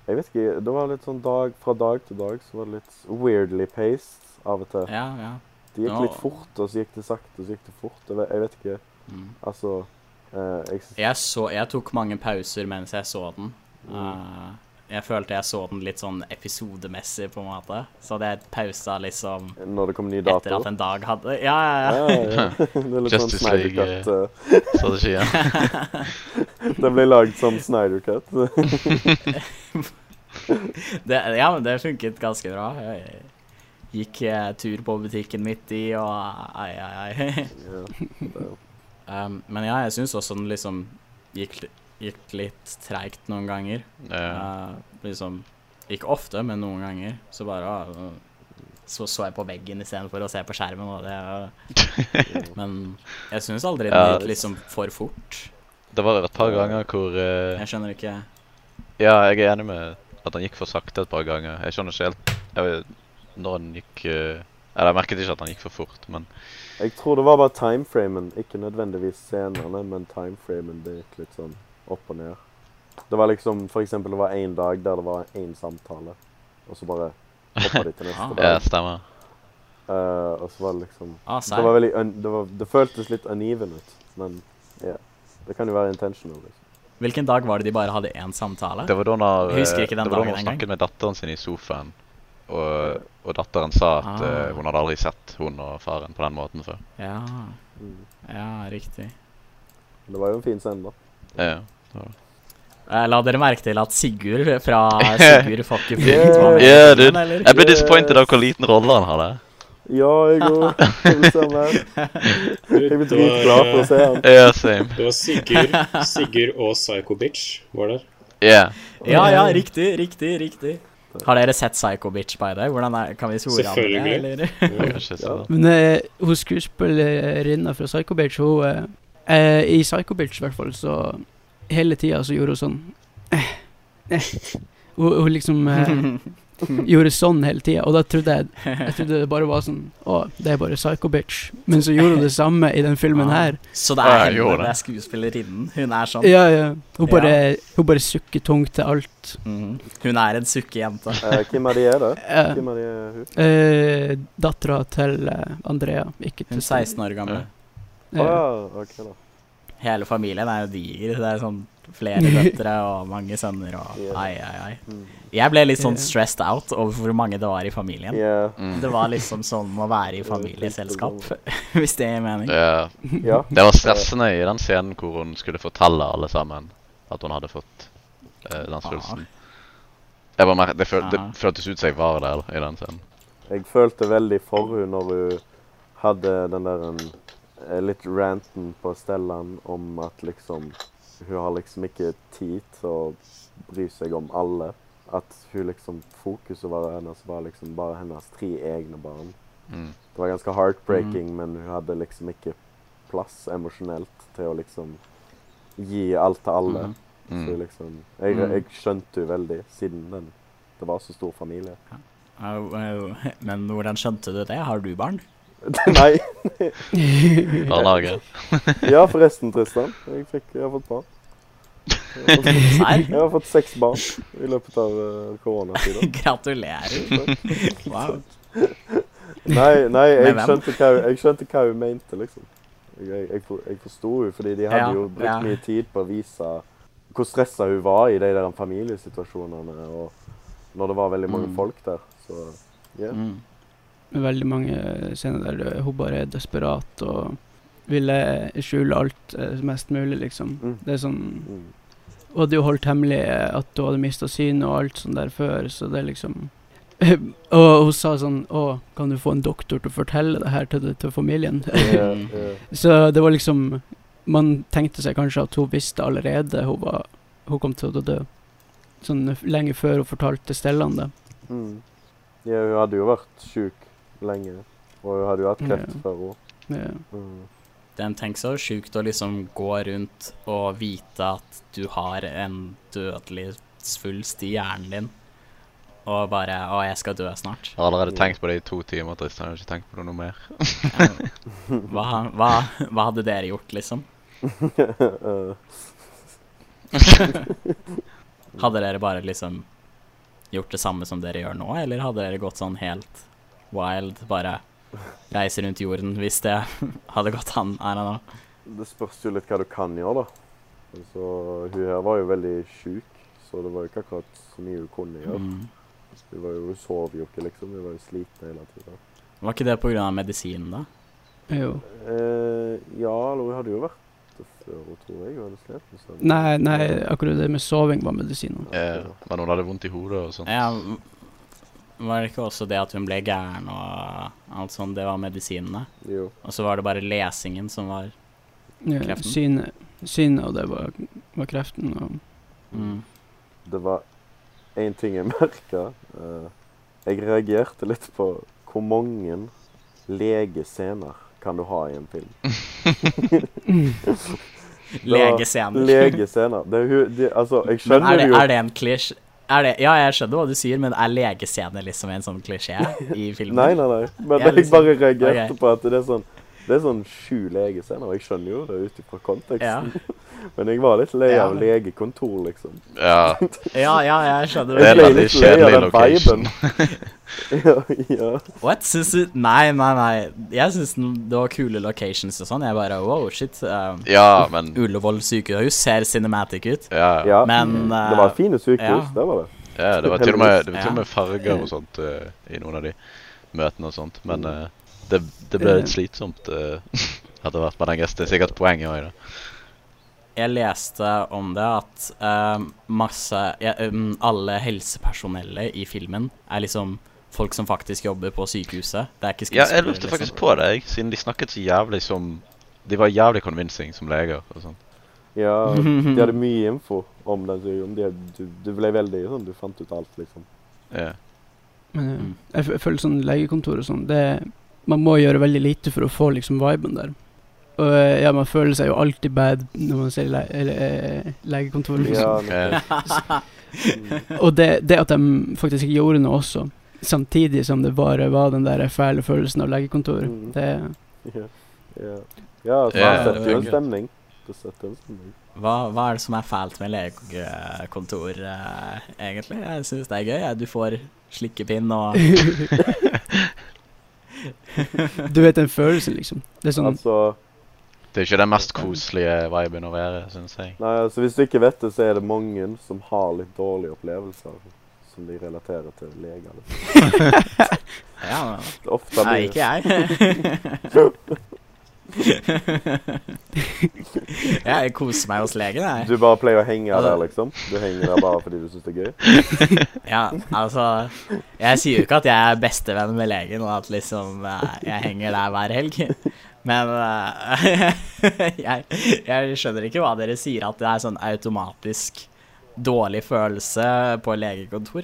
Jeg vet ikke, Det var litt sånn dag, fra dag til dag så var det litt weirdly paced av og til.
Ja, ja.
Det gikk
Ja.
litt fort, og så gikk det sakte, og så gikk det fort. Jeg vet, jeg vet ikke.
Mm.
Altså eh, jeg, synes-
Jeg, så, jeg tok mange pauser mens jeg så den. Eh, jeg følte jeg så den litt sånn episodemessig, på en måte. Så hadde jeg pausa liksom
Når det kom ny dato.
etter at en dag hadde Ja, ja, ja.
ja, ja. Det er litt sånn
Justice
Snyder
League, eh.
Cut. eh.
Strategien.
Det ble lagd som Snyder Cut.
Det, ja, men det funket ganske bra. Jeg gikk eh, tur på butikken midt i, og ai, ai, ai.
ja.
um, men ja, jeg syns også den liksom gikk, li- gikk litt treigt noen ganger.
Ja.
Eh, liksom Ikke ofte, men noen ganger. Så bare ah, så, så jeg på veggen istedenfor å se på skjermen. Og det, men jeg syns aldri den
Ja.
gikk liksom for fort.
Det var et par ganger hvor eh,
Jeg skjønner ikke
Ja, jeg er enig med at han gikk for sakte et par ganger. Jeg skjønner ikke helt jeg vet, når han gikk eh, Eller jeg merket ikke at han gikk for fort, men
Jeg tror det var bare timeframen. Ikke nødvendigvis scenene, men timeframen det gikk litt sånn opp og ned. Det var liksom For eksempel, det var én dag der det var én samtale, og så bare hoppa de til neste
ja,
dag.
stemmer.
Eh, og så var det liksom
ah,
Det var veldig un, det, var, det føltes litt uneven ut, men ja. Det kan jo være intentional. liksom.
Hvilken dag var det de bare hadde én samtale?
Det var da
Jeg
når, eh,
husker ikke den
det var da
dagen
han
engang.
snakket med datteren sin i sofaen, og, og datteren sa at eh,
Ah.
hun hadde aldri sett hun og faren på den måten før.
Ja,
Mm.
ja, riktig.
Det var jo en fin scene, da.
Ja.
Eh, La dere merke til at Sigurd fra Sigurd får ikke punkt var med i
Yeah,
filmen,
dude.
eller?
Jeg ble disappointed av hvor liten rolle han hadde.
Ja, jeg òg. Jeg blir
Det var, eh,
dritglad for å se han.
Ja, same.
Det var Sigurd, Sigurd og Psycho Bitch var der.
Yeah.
Ja, ja, riktig, riktig, riktig. Har dere sett Psycho Bitch by the way? Hvordan er, kan vi svore an det?
Selvfølgelig.
Eller?
Jeg kan ikke se
Ja.
det.
Men eh, hun skuespillerinna fra Psycho Bitch, hun eh, eh, I Psycho Bitch, i hvert fall, så Hele tida så gjorde hun sånn eh, eh. Hun, hun liksom eh, gjorde sånn hele tida, og da trodde jeg Jeg trodde det bare var sånn Å, det er bare Psycho Bitch. Men så gjorde hun det samme i den filmen her.
Så det
Ja,
er
jeg
henne,
gjorde
det
det.
er skuespillerinnen. Hun er sånn.
Ja, ja. Hun bare, hun bare sukker tungt til alt.
Mhm. Hun er en sukkejente.
Eh, hvem av de er det?
Uh,
Hvem av de er hun?
uh, Dattera til eh, Andrea, ikke
Hun
til
er 16 år gammel.
Å ja, Ah, ok da.
Hele familien er jo diger. Det er sånn flere døtre og mange sønner og
Ja.
ai, ai, ai.
Mm.
Jeg ble litt sånn
Ja.
stressed out over hvor mange det var i familien.
Ja.
Mm.
Det var liksom sånn å være i familieselskap, hvis det gir mening.
Det,
ja.
det var stressende i den scenen hvor hun skulle fortelle alle sammen at hun hadde fått eh,
Ah.
den svulsten. Jeg var mer, det, føl, det
Ja.
føltes ut som jeg var der i den scenen.
Jeg følte veldig for henne når hun hadde den der en, eh, litt ranten på Stellan om at liksom Hun har liksom ikke tid til å bry seg om alle. At hun liksom fokuset var hennes var liksom bare hennes tre egne barn.
Mm.
Det var ganske heartbreaking, men hun hadde liksom ikke plass emosjonelt til å liksom gi alt til alle.
Mhm.
Så
Mm.
liksom Jeg,
Mm.
jeg skjønte henne veldig, siden den, det var så stor familie.
Au, au. Men hvordan skjønte du det? Har du barn?
Nei!
Eh,
Barnehage.
Ja, forresten, Tristan. Jeg, fikk, jeg har fått barn. Jeg har fått, jeg har fått seks barn i løpet av eh, koronatida.
Gratulerer. Wow.
Nei, nei jeg,
Med hvem?
skjønte hva, hun- jeg skjønte hra hun mente, liksom. Jeg, jeg, jeg, for- jeg forsto henne, fordi de hadde
Ja,
jo brukt
ja.
mye tid på å vise hvor stressa hun var i de der familiesituasjonene, og når det var veldig mange
Mm.
folk der. Så ja.
Mm.
med veldig mange scener der det- hun bare er desperat og ville skjule alt eh, mest mulig, liksom.
Mm.
Det er sånn
Mm.
Hun hadde jo holdt hemmelig eh, at hun hadde mista synet og alt sånt der før, så det er liksom Og hun sa sånn Å, kan du få en doktor til å fortelle det her til, til familien?
Ja, ja.
så det var liksom Man tenkte seg kanskje at hun visste allerede hun, var, hun kom til å dø. Sånn f- lenge før hun fortalte Stellan det.
Mm. ja, hun hadde jo vært sjuk lenge, og hun hadde jo hatt kreft
Ja.
før òg.
Ja.
Mm.
Den tenker så sjukt å liksom gå rundt og vite at du har en dødelig svulst i hjernen din, og bare Å, jeg skal dø snart.
Jeg har allerede tenkt på det i to timer, Tristan. Jeg har ikke tenkt på det noe mer.
Ja. Hva, hva, hva hadde dere gjort, liksom?
Eh,
Hadde dere bare liksom gjort det samme som dere gjør nå, eller hadde dere gått sånn helt wild, bare reise rundt jorden, hvis det hadde gått an? I don't know.
det spørs jo litt hva du kan gjøre, da. Altså, hun her var jo veldig sjuk, så det var jo ikke akkurat så mye hun kunne gjøre.
Mm.
Hun, var jo, hun sov jo ikke, liksom. Hun var jo sliten hele tida.
Var ikke det pga. medisinen, da?
Jo.
Eh, ja, eller hun hadde jo vært det før hun tror jeg. Hun hadde slept seg.
Nei, nei, akkurat det med soving var medisinen.
Eh, men hun hadde vondt i hodet og sånn. sånt.
Ja, v- var det ikke også det at hun ble gæren og alt sånt, det var medisinene?
Jo.
Og så var det bare lesingen som var
Ja,
Kreften.
Synet, synet og det var, var kreften. Og
mm.
Det var én ting jeg merka. jeg reagerte litt på hvor mange legescener kan du ha i en film.
legescener.
Legescener. Det, er hun- de, altså, jeg
Men er
skjønner
det,
jo
er det en klisj... Er det, ja, jeg skjønner hva du sier, men er legescener liksom en sånn klisjé i filmen?
Nei, nei, nei. Men
Ja,
jeg
liksom.
bare reagerte
Ok.
på at det er sånn det er sånn sju legescener, og jeg skjønner jo det ut ifra
Ja.
konteksten. Men jeg var litt lei
Ja.
av legekontor, liksom.
Ja.
ja, ja, jeg skjønner.
Det
Jeg
det.
er
ble
veldig
litt lei av
kjedelig
den
location.
viben. ja, ja.
What? Syns du Nei, nei, nei. Jeg syns den- det var kule locations og sånn. Jeg bare wow, shit. Um,
Ja, men
Ullevål sykehus ser cinematic ut,
ja, ja.
ja.
men
det var
eh,
fine sykehus,
ja.
det var det.
ja, det var til og med, det var til og
Ja.
med farger og sånt eh, i noen av de møtene og sånt. Men eh, det, det ble litt slitsomt eh, etter hvert. Men jeg guess det er sikkert poenget òg, da.
Jeg leste om det at eh, masse ja, um, Alle helsepersonellet i filmen er liksom folk som faktisk jobber på sykehuset. Det er ikke
Ja,
skuespillere. liksom.
jeg lurte faktisk på det, jeg, siden de snakket så jævlig som De var jævlig convincing som leger og sånt.
Ja, De hadde mye info om den sykdommen. De, du, du ble veldig sånn Du fant ut alt, liksom.
Ja.
men, eh,
Mm.
jeg, fø- føler sånn legekontor og sånn det, Man må gjøre veldig lite for å få liksom viben der. Og eh, ja, man føler seg jo alltid bad når man ser le, eller, eh, legekontor.
Ja,
Liksom.
Eh,
nettopp.
Og det, det at de faktisk ikke gjorde noe også, samtidig som det bare var den der fæle følelsen av legekontor,
Mm.
det
ja, ja. ja så han
Ja,
det
setter
var
jo en
gøy.
stemning. Det setter en stemning.
Hva, hva er det som er fælt med legekontor, eh, egentlig? Jeg syns det er gøy. ja. Du får slikkepinn og
Du vet den følelsen, liksom. Det er sånn
Altså
Det er ikke den mest koselige viben å være, syns jeg.
Nei, altså Hvis du ikke vet det, så er det mange som har litt dårlige opplevelser som de relaterer til leger. Liksom.
Ja, men-
Ofte
Nei,
blir
ikke jeg. jeg koser meg hos legen, jeg.
Du bare pleier å henge
Altså-
der, liksom? Du henger der bare fordi du syns det er gøy?
Ja, altså Jeg sier jo ikke at jeg er bestevenn med legen, og at liksom eh, jeg henger der hver helg. Men eh, jeg, jeg skjønner ikke hva dere sier, at det er sånn automatisk dårlig følelse på legekontor.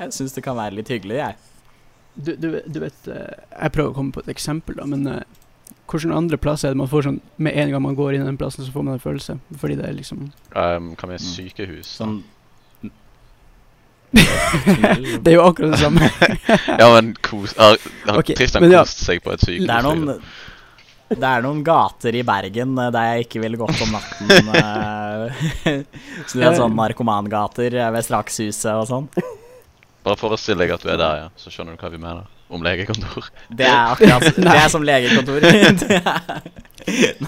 Jeg syns det kan være litt hyggelig, jeg.
Du, du, du vet eh, Jeg prøver å komme på et eksempel, da, men eh, hvordan andre plasser er det man får sånn Med en gang man går inn i den plassen, så får man en følelse? Fordi det er liksom
Um, kan vi ha sykehus? da?
Sånn
Det er jo akkurat det samme.
Ja, men kos... Har, har
Ok,
Tristan
men ja.
kost seg på et sykehus?
Det er noen det er noen gater i Bergen eh, der jeg ikke ville gått om natten. eh, Så du vet sånn narkomangater eh, ved Strakshuset og sånn.
Bare forestill deg at du er der, ja. Så skjønner du hva vi mener om legekontor.
Det er akkurat Det er som legekontor. Det er-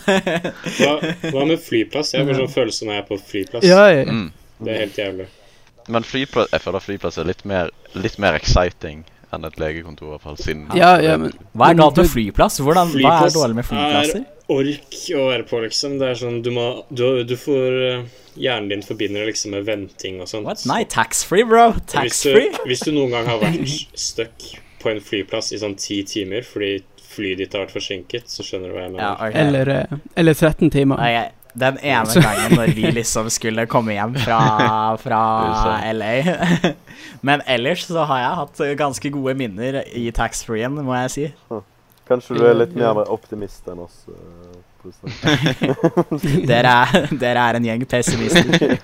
Hva, hva med flyplass? Jeg har bare sånn følelse når jeg er på flyplass.
Ja, ja.
Mm.
Det er helt jævlig.
Men flyplass, jeg føler flyplass er litt mer, litt mer exciting enn et legekontor, i hvert fall. Siden
Ja, ja, men-
Hva er galt med flyplass? Hvordan, hva er dårlig med flyplasser?
er ork å være på, liksom. Det er sånn, du må Du, du får eh, Hjernen din forbinder det liksom med venting og sånt.
What? Nei, taxfree, bro.
Hvis du,
Taxfree.
hvis du noen gang har vært stuck på en flyplass i sånn ti timer fordi flyet ditt har vært forsinket, så skjønner du hva jeg mener.
Ja, ok.
Eller, eh, eller 13 timer.
Nei, jeg- Den ene gangen når vi liksom skulle komme hjem fra, fra LA. Men ellers så har jeg hatt ganske gode minner i taxfree-en, må jeg si.
Kanskje du er litt mer optimist enn oss? eh, Tristan.
Dere er, dere er en gjeng pessimister.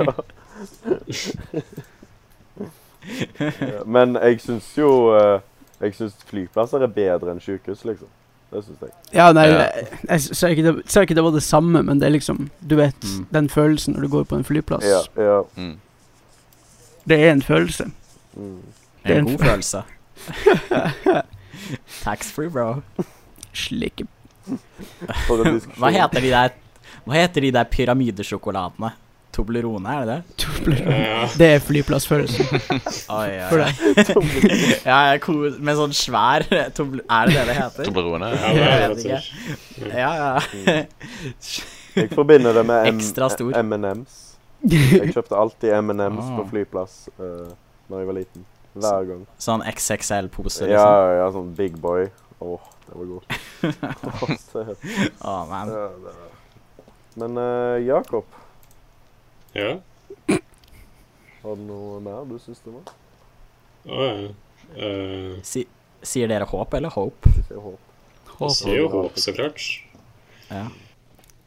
Ja, Men jeg syns jo eh, Jeg syns flyplasser er bedre enn sykehus, liksom. Det syns jeg.
Ja, nei,
Ja.
jeg, jeg sa ikke, det- sa ikke det var det samme, men det er liksom Du vet
Mm.
den følelsen når du går på en flyplass.
Ja, ja.
Mm.
Det er en følelse.
Mm.
Det er en god følelse. Taxfree, bro.
Slik
For en diskusjon.
Hva heter de der, hva heter de der pyramidesjokoladene? Toblerone, er det det?
tobler.
Ja,
Det er flyplassfølelse.
Oi, oi,
For
oi. Ja, jeg ko- med sånn svær tobl- Er det det det heter?
Toblerone?
ja, det er det,
Jeg vet ikke.
altså.
Ja, ja.
Jeg forbinder det med M-
Ekstra stor.
M&M's. Jeg kjøpte alltid M&M's på
Ah.
flyplass uh, når jeg var liten. Hver gang.
Sånn XXL-pose,
Ja,
liksom.
ja, sånn Big Boy. Åh, det var godt. Åh, se.
liksom. Å, man.
Ja, det var- Men eh, Jakob,
Ja.
har du noe mer du syns det var?
Å, ja. Eh,
Si, sier dere håp eller hope?
Ikke jeg håper.
det sier jo håp, så klart.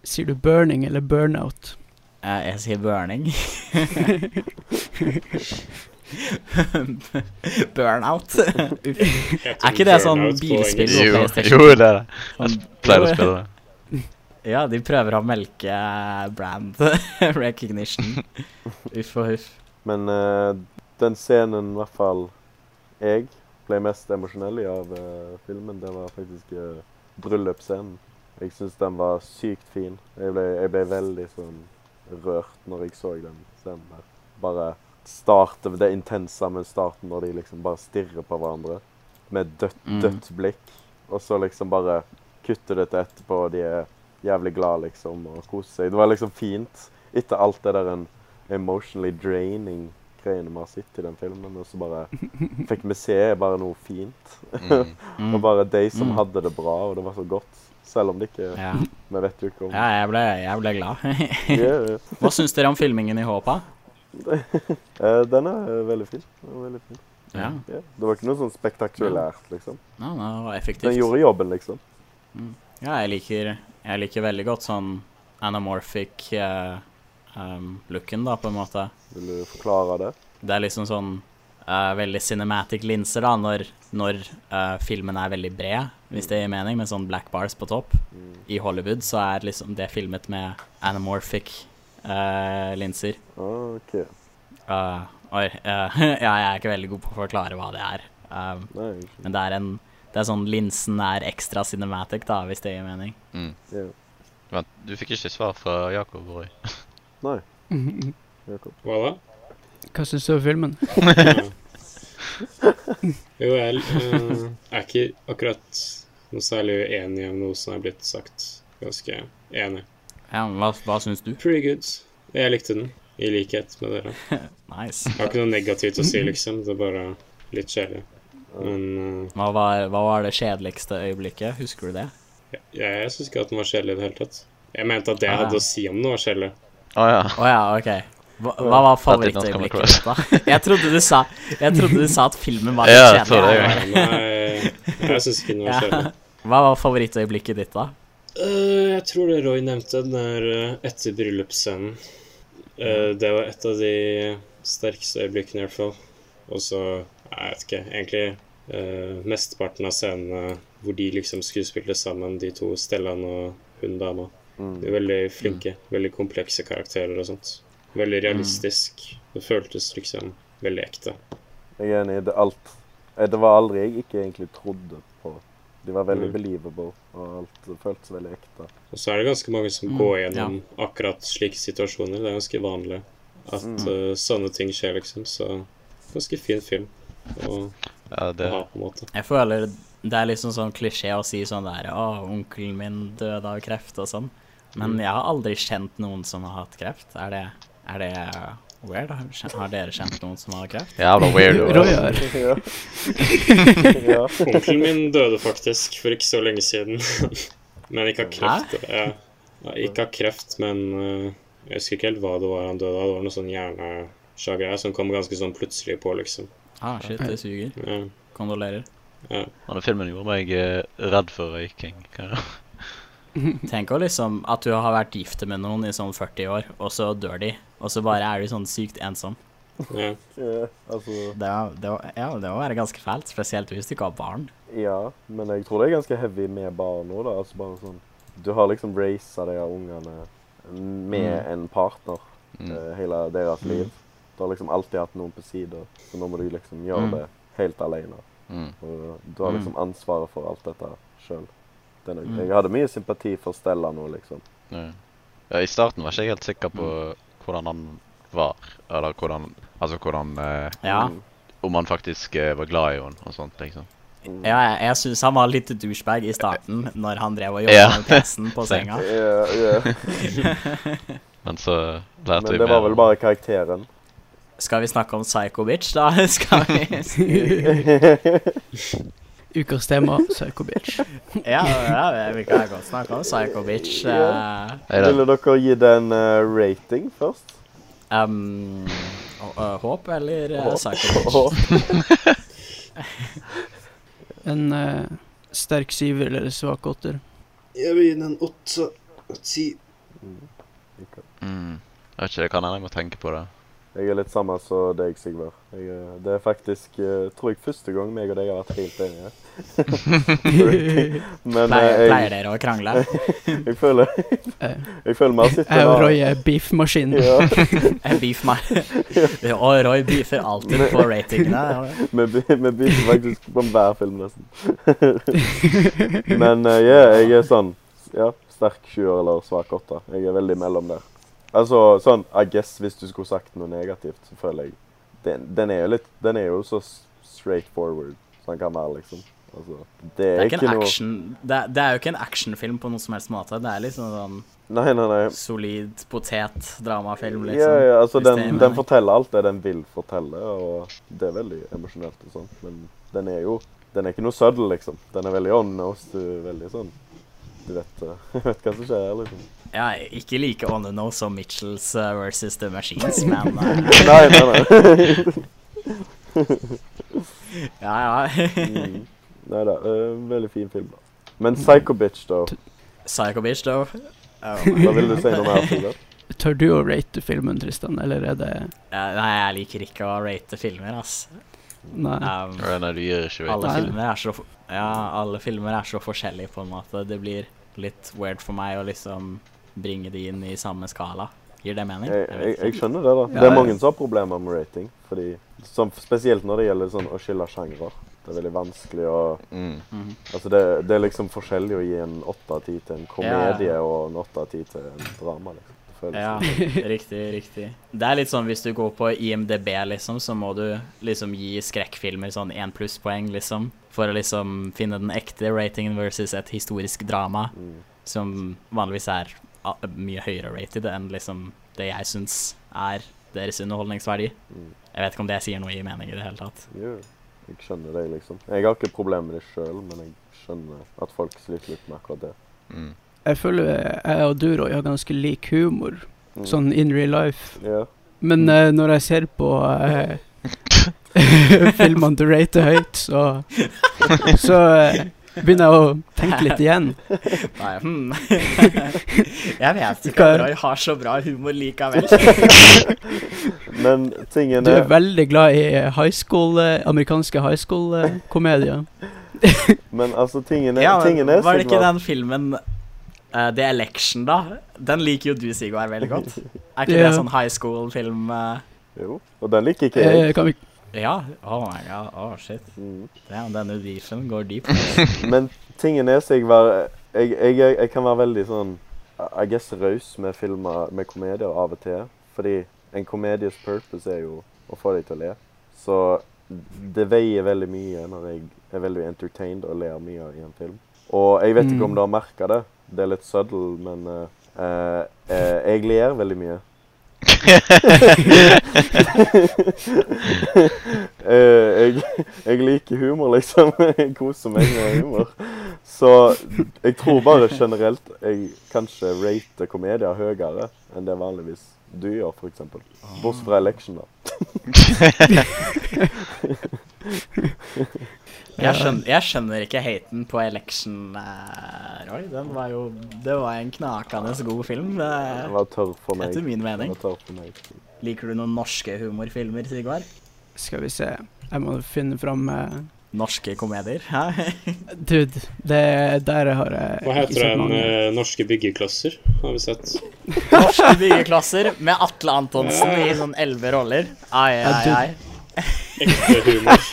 Sier du burning eller burnout?
Eh, jeg sier burning. Burnout. Uff.
Heter
Er ikke det sånn
burnout på
bilspill?
engelsk?
Jo,
PlayStation.
jo, det er det. Jeg
Sånn-
pleier å spille det.
Ja, de prøver å melke brand recognition. Uff og huff.
Men eh, den scenen i hvert fall jeg ble mest emosjonell i av eh, filmen, det var faktisk eh, bryllupsscenen. Jeg syns den var sykt fin. Jeg ble, jeg ble veldig sånn rørt når jeg så den scenen der. Bare starte det intense med starten når de liksom bare stirrer på hverandre med dødt,
Mm.
dødt blikk. Og så liksom bare kutter det til etterpå, og de er jævlig glad liksom, og koser seg. Det var liksom fint etter alt det der en emotionally draining greiene vi har sett i den filmen, og så bare fikk vi se bare noe fint.
Mm.
Mm.
Og bare de som
Mm.
hadde det bra, og det var så godt. Selv om det ikke
Ja,
Vi vet jo ikke om
ja jeg, ble, jeg ble glad.
Yeah.
Hva syns dere om filmingen i Håpa?
Eh, Den er eh, veldig fin. Den er veldig fin.
Ja.
Ja. Det var ikke noe sånn spektakulært, liksom.
ja, det var
Den
effektivt.
gjorde jobben, liksom.
Ja, jeg liker, jeg liker veldig godt sånn anamorphic eh, um, looken, da, på en måte.
Vil du forklare det?
Det er liksom sånn eh, veldig cinematic linser da, når, når eh, filmen er veldig bred, hvis det gir mening, med sånn black bars på topp.
Mm.
I Hollywood så er liksom det filmet med anamorphic eh, linser.
OK.
Eh, oi, eh, ja, jeg er ikke veldig god på å forklare hva det er. Um,
Nei, ikke.
men det er en Det er sånn linsen er ekstra cinematic, da, hvis det gir mening.
Mm.
Ja.
Vent, du fikk ikke svar fra Jakob Roy.
Jakob.
Hva da?
Hva syns du om filmen?
Jo, jeg eh, er ikke akkurat noe særlig uenig om noe som er blitt sagt. Ganske enig.
Ja, men hva, hva syns du?
Pretty good. Jeg likte den, i likhet med dere.
Nice.
Jeg har ikke noe negativt å si, liksom. Det er bare litt kjedelig. Men eh,
Hva var, hva var det kjedeligste øyeblikket? Husker du det?
jeg, jeg syns ikke at den var kjedelig i det hele tatt. Jeg mente at det jeg
Ah.
hadde å si om den, var kjedelig.
Å ja.
Å ja, OK. Hva, hva var
That did not come
favorittøyeblikket ditt, da? Jeg trodde, du sa, jeg trodde du sa at filmen var
Ja, jeg
litt
tror det,
kjedelig.
ja.
Nei, nei, eh, jeg syns ikke den var kjedelig.
Hva var favorittøyeblikket ditt, da?
Eh, jeg tror det Roy nevnte, den der eh, etter bryllupsscenen. Eh, det var et av de sterkeste øyeblikkene, i hvert fall. Og så Nei, jeg vet ikke. Egentlig eh, mesteparten av scenene hvor de liksom skuespiller sammen, de to, Stellan og hun dama.
Mm.
De er veldig flinke. Veldig komplekse karakterer og sånt. Veldig realistisk. Det føltes liksom veldig ekte.
Jeg er enig i det alt. Eh, Det var aldri jeg ikke egentlig trodde på. De var veldig
Mm.
believable, og alt føltes veldig ekte.
Og så er det ganske mange som
Mm,
går gjennom akkurat slike situasjoner. Det er ganske vanlig at eh, sånne ting skjer, liksom. Så ganske fin film å,
ja
å
det,
ha, på en måte.
Jeg føler det er liksom sånn klisjé å si sånn der Å, onkelen min døde av kreft og sånn. Men
Mm.
jeg har aldri kjent noen som har hatt kreft. Er det, er det weird? Har kjen- Har dere kjent noen som har kreft?
Jævla weirdo.
Roy
altså.
har
ja. ja.
Onkelen min døde faktisk for ikke så lenge siden. men ikke av kreft. Ja. Ja, ikke av kreft, men eh, jeg husker ikke helt hva det var han døde av. Det var noe sånn hjernesjagreie som kom ganske sånn plutselig på, liksom.
Ah, shit, det suger.
Ja.
Kondolerer.
Denne filmen gjorde meg eh, redd for røyking. kan jeg-
Tenk å liksom at du har vært gift med noen i sånn 40 år, og så dør de. Og så bare er du sånn sykt ensom.
Ja.
ja. Altså
Det, er- det, er- ja, det må være ganske fælt, spesielt hvis du ikke har barn.
Ja, men jeg tror det er ganske heavy med barn òg, da. Altså bare sånn Du har liksom raisa de her ungene med
Mm.
en partner
Mm.
eh, hele deres liv. Du har liksom alltid hatt noen på sida, så nå må du liksom gjøre
Mm.
det helt alene.
Mm.
Og du har
Mm.
liksom ansvaret for alt dette sjøl.
Mm.
Jeg hadde mye sympati for Stella nå, liksom.
Ja. Ja, I starten var ikke jeg helt sikker på
Mm.
hvordan han var. Eller hvordan Altså hvordan eh,
Ja.
Mm.
Om han faktisk eh, var glad i henne og sånt, liksom.
Mm.
Ja, jeg, jeg syns han var litt douchebag i starten, når han drev og
Ja.
jobba med PC-en på senga.
Ja, ja.
Men så lærte
Men
vi
det var vel
om-
bare karakteren.
Skal vi snakke om Psycho Bitch, da? Skal vi
Ukas tema, Psycho Bitch.
Ja, ja vi kan godt snakke om Psycho Bitch. eh,
Nei, det-
Ville dere gi den eh, rating først?
ehm, å- å, håp eller eh, Psycho Bitch?
Og-
En eh, sterk syver eller svak åtter.
Jeg vil gi den en åtte av ti.
mm. Jeg vet ikke, det kan hende jeg må tenke på det.
Jeg er litt samme som deg, Sigvard. Jeg, er- det er faktisk, eh, tror jeg, første gang meg og deg har vært helt enige. Men eh,
Pleier, pleier
jeg,
dere å krangle?
jeg føler
Eh.
Jeg føler vi har sittet
Jeg og
her-
Roy er beefmaskin.
Ja,
Jeg beef meg. Og Roy beefer alltid på ratingene.
vi be- vi begynner faktisk på hver film, nesten. Men eh, ja, jeg er sånn ja, sterk sjuer eller svak åtter. Jeg er veldig mellom der. Altså sånn I guess hvis du skulle sagt noe negativt, så føler jeg Den, den er jo litt Den er jo så s- straightforward som den kan være, liksom. Altså, det
Det
er,
er, ikke en
noe
action, det, er, det er jo ikke en actionfilm på noen som helst måte. Det er liksom sånn
Nei, nei, nei.
solid potet-dramafilm,
Ja,
liksom.
ja, altså
hvis det er
den, den
mening.
forteller alt det den vil fortelle, og det er veldig emosjonelt og sånt, men den er jo Den er ikke noe søddel, liksom. Den er veldig honest, du er veldig sånn Du vet, eh, vet hva som skjer, her, liksom.
Ja, ikke like on the nose som Mitchells eh, versus The Machines, men eh,
Nei, nei, nei.
Ja, ja.
Mm. Nei da. eh, Veldig fin film, da. Men Psycho Bitch, da?
Psycho Bitch, da. Oh my
Hva vil du
God.
si noe mer, Sigurd?
Tør du å rate filmen, Tristan, eller er det
Ja, Nei, jeg liker ikke å rate filmer, ass.
Nei.
Um,
Ja, Nei, du gir ikke
alle
rating.
Nei.
filmer er så f- Ja, alle filmer er så forskjellige, på en måte. Det blir litt weird for meg å liksom bringe de inn i samme skala. Gir det mening?
Jeg,
Jeg
jeg,
vet
jeg
ikke.
skjønner det, da.
Ja,
Det er
ja.
mange som har problemer med rating. Fordi, som, spesielt når det gjelder sånn å skille sjangre. Det- Det er veldig vanskelig å
Mm.
Mhm.
Altså, det, det er liksom forskjellig å gi en åtte av ti til en komedie
Ja, ja.
og en åtte av ti til en drama, liksom. Det føles
Ja,
sånn.
riktig, riktig. Det er litt sånn hvis du går på IMDb, liksom, så må du liksom gi skrekkfilmer sånn én plusspoeng, liksom, for å liksom finne den ekte ratingen versus et historisk drama,
Mm.
som vanligvis er a- mye høyere rated enn liksom det jeg syns er deres underholdningsverdi.
Mm.
Jeg vet ikke om det sier noe i mening i det hele tatt.
Jo, jeg skjønner deg, liksom. Jeg har ikke problemer med det sjøl, men jeg skjønner at folk sliter litt med akkurat det.
Mm.
Jeg føler eh, jeg og du, Roy, har ganske lik humor,
Mm.
sånn in real life.
Ja.
Men eh, når jeg ser på eh, filmene du rater høyt, så, så eh, begynner jeg å tenke litt igjen.
Nei, hmm. Jeg vet ikke om Roy har så bra humor likevel.
Men tingen
Du er
er
veldig glad i high school, eh, amerikanske high eh, school-komedier.
Men altså, tingen er,
Ja,
tingen
men
er
var det ikke
Sigvard,
den filmen eh, The Election, da? Den liker jo du, Sigvard, veldig godt. Er ikke
Ja.
det sånn high school-film eh?
Jo, og den liker ikke
Eh,
jeg.
kan vi
Ja. Oh my god. Oh shit.
Eh.
Mm.
Damn, denne beefen går deep.
Men tingen er Sigvard jeg, jeg, jeg, jeg kan være veldig sånn I guess raus med filmer med komedier av og til. Fordi en komedies purpose er jo å få deg til å le. Så det veier veldig mye når jeg er veldig entertained og ler mye i en film. Og jeg vet ikke om
Mm.
du har merka det. Det er litt subtle, men eh, eh, eh, jeg ler veldig mye. Eh, jeg, jeg liker humor, liksom. Jeg koser meg med humor. Så jeg tror bare generelt jeg kanskje rater komedier høyere enn det vanligvis du gjør, f.eks. Bortsett fra Election, da.
Jeg skjønner, jeg skjønner ikke haten på Election, eh, Roy. Den var jo Det var en knakende god film, eh,
Den var tørr for meg.
etter min mening.
Den var tørr for meg.
Liker du noen norske humorfilmer, Sigvard?
Skal vi se. Jeg må finne fram eh,
Norske komedier? Hæ?
Dude, det der har jeg
Hva heter
ikke sett
den
mange.
eh, norske byggeklasser? Har vi sett.
Norske byggeklasser med Atle Antonsen i sånn elleve roller. Ai, ai,
Ja,
ai.
Ekte humor.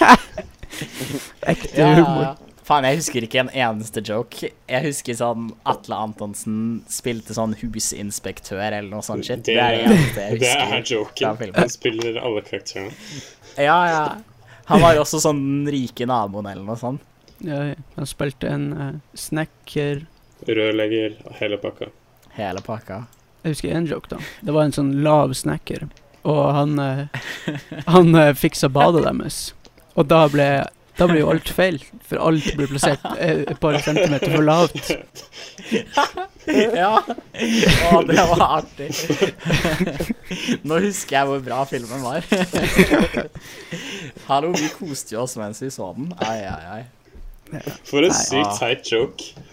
Ekte
Ja, ja,
humor.
ja. Faen, jeg husker ikke en eneste joke. Jeg husker sånn Atle Antonsen spilte sånn husinspektør eller noe sånt shit. Det, er det eneste jeg
Det er
husker. fra
joken.
filmen.
Han spiller alle karakterene.
Ja, ja. Han var jo også sånn den rike naboen eller noe sånt.
Ja, ja. Han spilte en eh, snekker
Rørlegger, hele pakka.
Hele pakka.
Jeg husker en joke, da. Det var en sånn lav snekker, og han eh, Han eh, fiksa badet deres. Og da ble, da ble jo alt feil, for alt ble plassert eh, et par centimeter for lavt.
Ja. Å, det var artig. Nå husker jeg hvor bra filmen var. Hallo, vi koste jo oss mens vi så den. Ai, ai, ai.
For en
Nei.
sykt
Ah.
teit joke.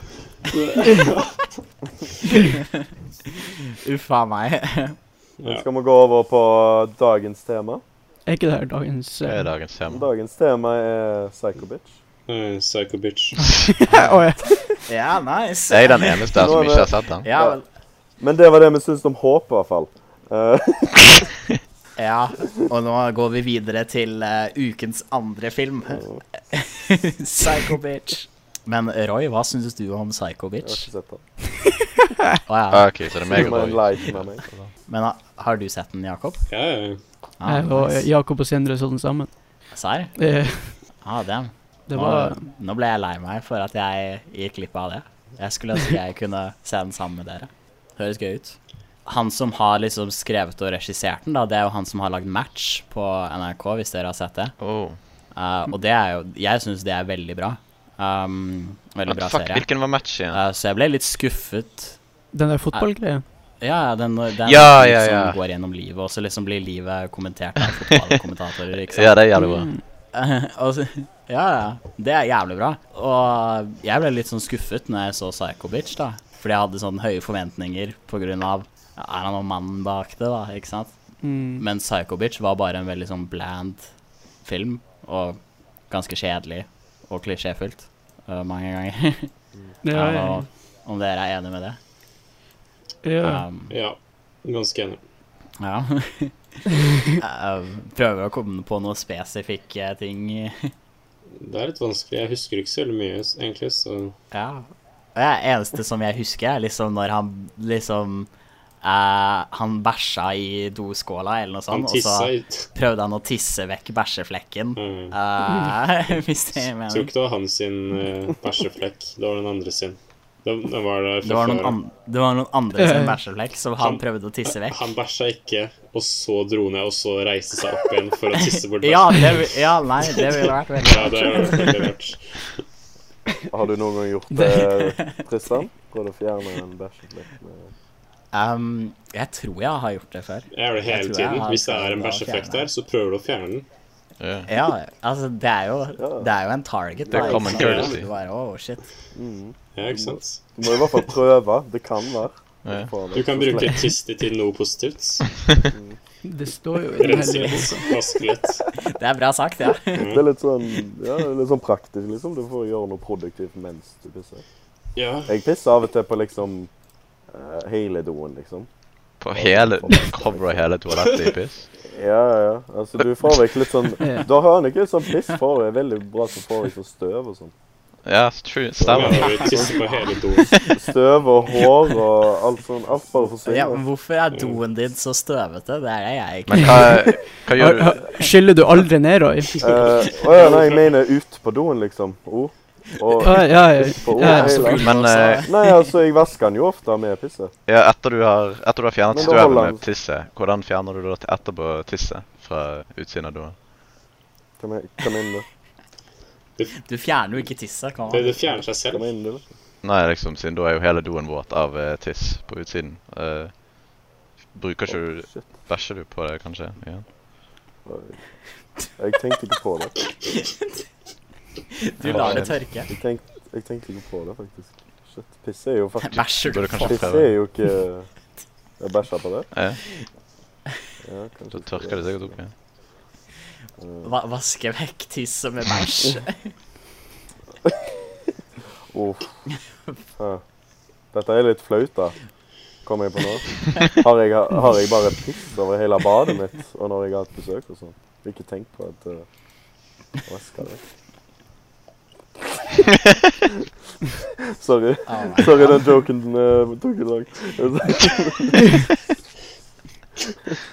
Uffa meg.
Ja.
Skal vi gå over på dagens tema?
Er ikke det her dagens
Det
eh,
er dagens tema.
Dagens tema er psycho-bitch.
Eh, Psycho bitch.
å, ja.
Ja, nice.
Jeg er den eneste her som ikke har sett den.
Ja, vel.
Men det var det vi syntes om håp, i hvert fall. Eh,
Ja, og nå går vi videre til eh, ukens andre film. Psycho Bitch. Men Roy, hva syns du om Psycho
jeg har
Bitch?
ikke sett den.
Å ja.
Ah, OK, så det er meg
Du må
og Roy.
enlighten meg.
Men ha- har du sett den, Jakob?
Ja, ja.
Ah,
Jeg og eh,
nice.
Jakob og Sindre så den sammen.
Serr?
Eh,
Ah, damn.
det
Nå,
var
nå ble jeg lei meg for at jeg gikk glipp av det. Jeg skulle ønske jeg kunne se den sammen med dere. Høres gøy ut. Han som har liksom skrevet og regissert den, da, det er jo han som har lagd match på NRK, hvis dere har sett det.
Oh.
Eh, og det er jo Jeg syns det er veldig bra. Um, veldig
Men
bra
fuck,
serie.
hvilken var match igjen?
Eh, så jeg ble litt skuffet.
den der fotballgreia.
Ja, ja, den, den
Ja, ja,
liksom
ja.
går gjennom livet, og så liksom blir livet kommentert av fotballkommentatorer, ikke sant.
Ja, det er jævlig bra.
Mm. og så, Altså, ja, ja. Det er jævlig bra. Og jeg ble litt sånn skuffet når jeg så Psycho Bitch, da. Fordi jeg hadde sånn høye forventninger på grunn av ja, Er han noen mann bak det, da? Ikke sant?
Mm.
Men Psycho Bitch var bare en veldig sånn bland film, og ganske kjedelig og klisjéfullt eh, mange ganger.
Ja,
Ja,
ja,
og om dere er enig med det.
ja.
Um,
ja. Ganske enig.
ja. Eh, um, prøver å komme på noen spesifikke ting.
Det er litt vanskelig. Jeg husker ikke så veldig mye, s- egentlig, så
Ja. Det er eneste som jeg husker, er liksom når han liksom eh, Han bæsja i doskåla eller noe
han
sånt, og
tissa
så
i
prøvde han å tisse vekk bæsjeflekken.
Mm.
Eh, hvis det gir
Tror
mening.
ikke det var han sin eh, bæsjeflekk. Det var den andre sin. Den, den var der
Det var,
fra
noen
før.
an det var noen andre sin
Eh.
bæsjeflekk, så han
Han-
prøvde å tisse vekk.
Han bæsja ikke, og så dro ned, og så reiste seg opp igjen for å tisse bort
Ja,
bæsjen.
det, ja, nei, det ville vært veldig
Ja, det er jo veldig rart.
Har du noen gang gjort det, Tristan? Prøvd å fjerne en bæsjeflekk med
Ehm, Jeg tror jeg har gjort det før.
Jeg gjør det
Jeg
hele
tror jeg
tiden.
har
Hvis det er en
prøvd å fjerne
bæsjeflekk
den.
der, så prøver du å fjerne den.
Ja.
Ja, altså, det er jo, det er jo en target.
Det er
da,
common
ikke sant?
courtesy.
Du bare, oh, shit.
Ja, ikke sant?
Du må i hvert fall prøve. Det kan være.
Ja.
Få det
Du kan
på
bruke
slekt.
tiss ditt til noe positivt.
Det står jo i den
Rense
hellige
litt,
boka.
vaske litt. Mm.
Det er bra sagt, ja.
Det er litt sånn, ja, det er litt sånn praktisk, liksom. Du får gjøre noe produktivt mens du pisser.
Ja.
Jeg pisser av og til på liksom eh, hele doen, liksom.
På hele Covra hele toalettet i piss.
Ja, ja. ja. Altså, du får vekk litt sånn
Eh,
Da har han ikke litt sånn piss for deg. Veldig bra som får vekk sånn støv og sånn.
Ja, s- true.
Da
Stemmer.
må du tisse på hele doen.
Støv og hår og alt sånn. Alt bare
ja
forsvinner.
men hvorfor er doen din så støvete? Det er det jeg ikke
Men hva, hva gjør du?
Har- har- Skyller du aldri ned, Roy?
Eh, Å ja, nei, jeg mener ut på doen, liksom. O. Og
Ah, Ja, ja, ja.
på O
Ja,
hele.
Men eh,
Nei, altså, jeg vasker den jo ofte med pisset.
ja, etter, du har, etter du har fjernet
Men da
støvet
holder han-
med tisset, hvordan fjerner du da til etterpå tisset fra utsiden av doen?
Kom inn, kom inn, du.
eh,
Du fjerner jo ikke tisset. Kan
Det,
man?
det fjerner seg selv.
Kom inn, du.
Nei, liksom, siden da er jo hele doen våt av eh, tiss på utsiden. Eh, bruker ikke
Å,
du
shit.
Bæsjer du på det, kanskje? Ja.
Oi. Jeg tenkte ikke på det.
Du lar det tørke.
Jeg tenkte, jeg tenkte ikke på det, faktisk. Shit, pisse er jo faktisk
Bæsjer du
Burde kanskje-
på?
Pisse er jo ikke Jeg bæsja på det.
Ja.
Ja, kanskje
Da
ikke
tørker det sikkert opp. Ja.
Va vaske vekk tisset med bæsj?
Uff. Ja. Dette er litt flaut, da. Kommer jeg på nå. Har jeg, har jeg bare piss over hele badet mitt, og når jeg har hatt besøk og sånn? Ikke tenk på at uh, Vasker det. Sorry.
Oh my
Sorry, den joken eh, tok litt langt.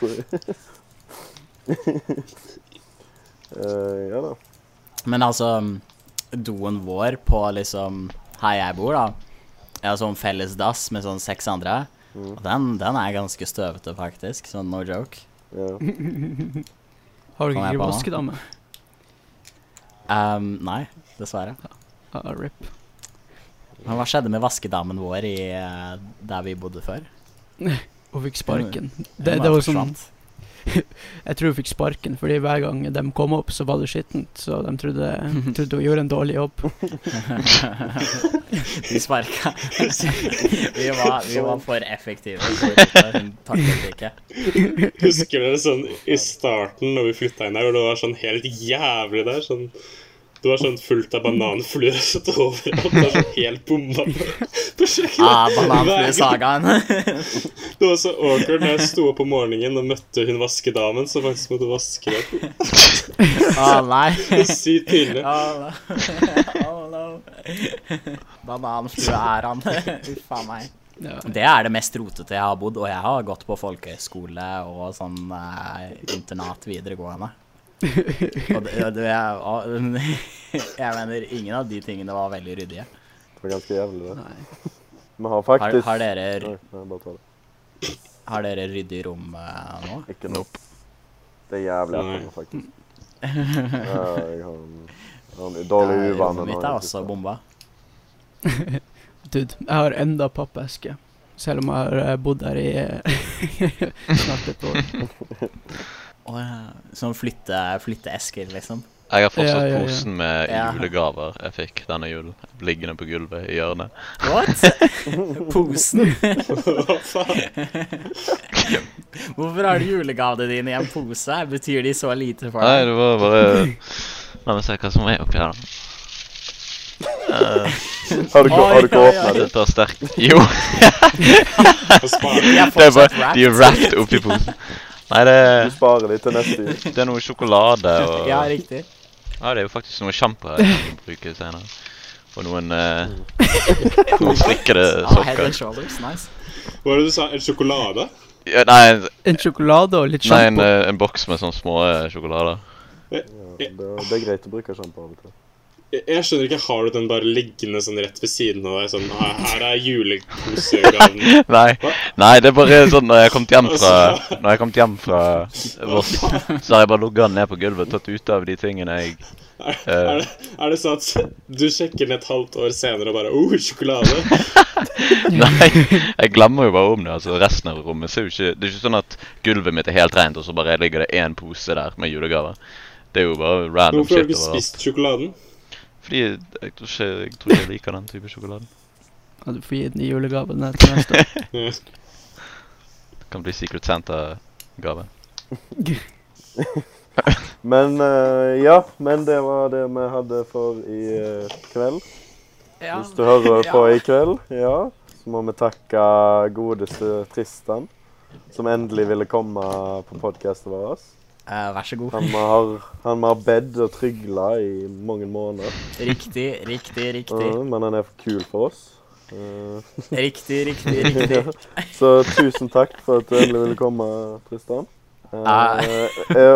Sorry. Eh, ja da.
Men altså, doen vår på liksom her jeg bor, da Jeg har sånn felles dass med sånn seks andre. Og den, den er ganske støvete, faktisk. Sånn no joke.
Ja.
Har du
Kan jeg
ikke
på nå?
vaskedame?
Ehm, nei, dessverre.
Ah, rip.
Men hva skjedde med vaskedamen vår i, eh, der vi bodde før?
Hun fikk sparken.
Den
Det,
bare
det var sånn
forsvant.
Jeg tror hun fikk sparken, fordi hver gang de kom opp, så var det skittent. Så de trodde, trodde hun gjorde en dårlig jobb.
Vi sparka. vi, var, vi var for effektive. så Hun taklet det ikke.
Husker dere sånn i starten når vi flytta inn her, og det var sånn helt jævlig der? sånn... Det var sånn fullt av bananfluer og sånt overalt. Det var sånn helt bomba på, på kjøkkenet.
Ah,
Hver gang-
Bananfluesagaen.
Det var så awkward når jeg sto opp om morgenen og møtte hun vaskedamen som faktisk måtte vaske det.
Å Ah, nei.
Det er Sykt pinlig.
Å no. Bananflue er han. Uff a meg.
Ja.
Det er det mest rotete jeg har bodd, og jeg har gått på folkehøyskole og sånn eh, internat videregående. Og det, og det er, og, jeg mener, ingen av de tingene var veldig ryddige.
Det var ganske jævlig, det.
Nei.
Vi har
Har,
faktisk
har, dere,
Nei, nei, bare ta det.
har dere ryddig rom eh, nå?
Ikke noe. Det er jævlig
Nei.
ekkelt, faktisk. Ja, jeg har en, jeg har en dårlig
Nei,
uvane
Rommet mitt er også bomba.
Dude, jeg har enda pappeske. Selv om jeg har eh, bodd her i eh, snart et år.
Og, eh, Sånn flytte, flytteesker, liksom.
Jeg har fortsatt
Ja, ja, ja.
posen med
Ja.
julegaver jeg fikk denne julen, liggende på gulvet i hjørnet.
What? Posen.
Hva faen?
Hvorfor har du julegavene dine i en pose? Betyr de så lite for
Nei,
deg?
det var bare La meg se hva som er oppi her, da.
Har du ikke, har du ikke
Oi, oi, oi.
åpnet det?
Dette var sterkt. Jo,
Få spare.
De er
det er
fortsatt
bare De er
wrapped.
wrapped oppi posen. Nei, det,
Du sparer de til neste uke.
det er noe sjokolade og
Ja, riktig.
Ja, det er jo faktisk noen sjampoer jeg kan bruke senere. Og noen, eh, noen strikkede
Ja, Ah, head and
sokker.
shoulders, nice.
Hva var det du sa? En sjokolade?
Ja, nei, en,
En sjokolade og litt
nei en,
sjampo.
eh, en boks med sånne små eh, sjokolader.
Ja, det, det er greit å bruke sjampo av og til.
Jeg- Jeg skjønner ikke, har du den bare liggende sånn rett ved siden av deg? Sånn, her her er julekosegaven.
Nei,
Hva?
nei, det er bare sånn når jeg har kommet hjem fra Når jeg har kommet hjem fra Voss, så har jeg bare ligget den ned på gulvet og tatt ut av de tingene jeg
Er,
Eh.
er, det, er det sånn at du sjekker den et halvt år senere og bare oh, sjokolade?
Nei, jeg glemmer jo bare om det. altså Resten av rommet så er jo ikke Det er ikke sånn at gulvet mitt er helt rent, og så bare ligger det én pose der med julegaver. Det er jo bare random
Hvorfor har du
shit
ikke
overalt.
spist sjokoladen?
Fordi jeg tror ikke jeg, tror ikke jeg liker den type sjokolade.
Ja, du får gi den i julegave den her til neste år.
Ja.
Det kan bli Secret Santa-gave.
Men eh, ja, men det var det vi hadde for i eh, kveld. Hvis du hører på i kveld, ja, så må vi takke godeste Tristan, som endelig ville komme på podkasten vår.
Eh, vær så god.
Han vi har, han vi har bedt og trygla i mange måneder,
Riktig, riktig, riktig.
Eh, men han er for kul for oss. Eh,
Riktig, riktig, riktig.
så tusen takk for at du endelig ville komme, Tristan. Eh,
Ah.
eh,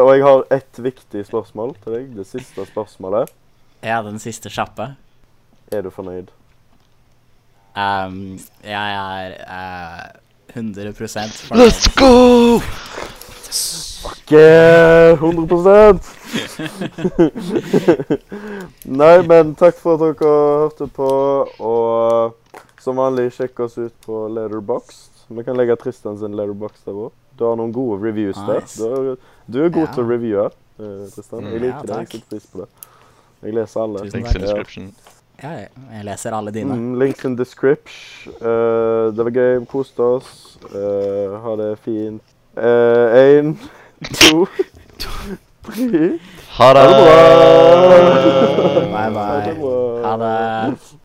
og jeg har ett viktig spørsmål til deg. Det siste spørsmålet.
Ja, den siste kjappe.
Er du fornøyd?
Ehm, jeg er eh, 100 fornøyd.
Let's go!
Ikke 100 Nei, men takk for at dere hørte på. Og som vanlig, sjekk oss ut på Letterboxd. Vi kan legge Tristan sin Letterboxd der òg. Du har noen gode reviews der.
Nice.
Du er, du er god
Ja.
til å reviewe, eh, Tristan. Jeg
Mm. Ja,
liker det.
takk.
Jeg setter pris på det. Jeg leser alle.
Tusen
Links in
Ja.
description.
Ja, jeg- jeg leser alle dine.
Mm, links in description. Eh, det var gøy. Vi koste oss. Eh, ha det fint. Én, to, tre
Ha det!
Ha det bra!
Bye,
Ha det
bye.
bra.
Ha det.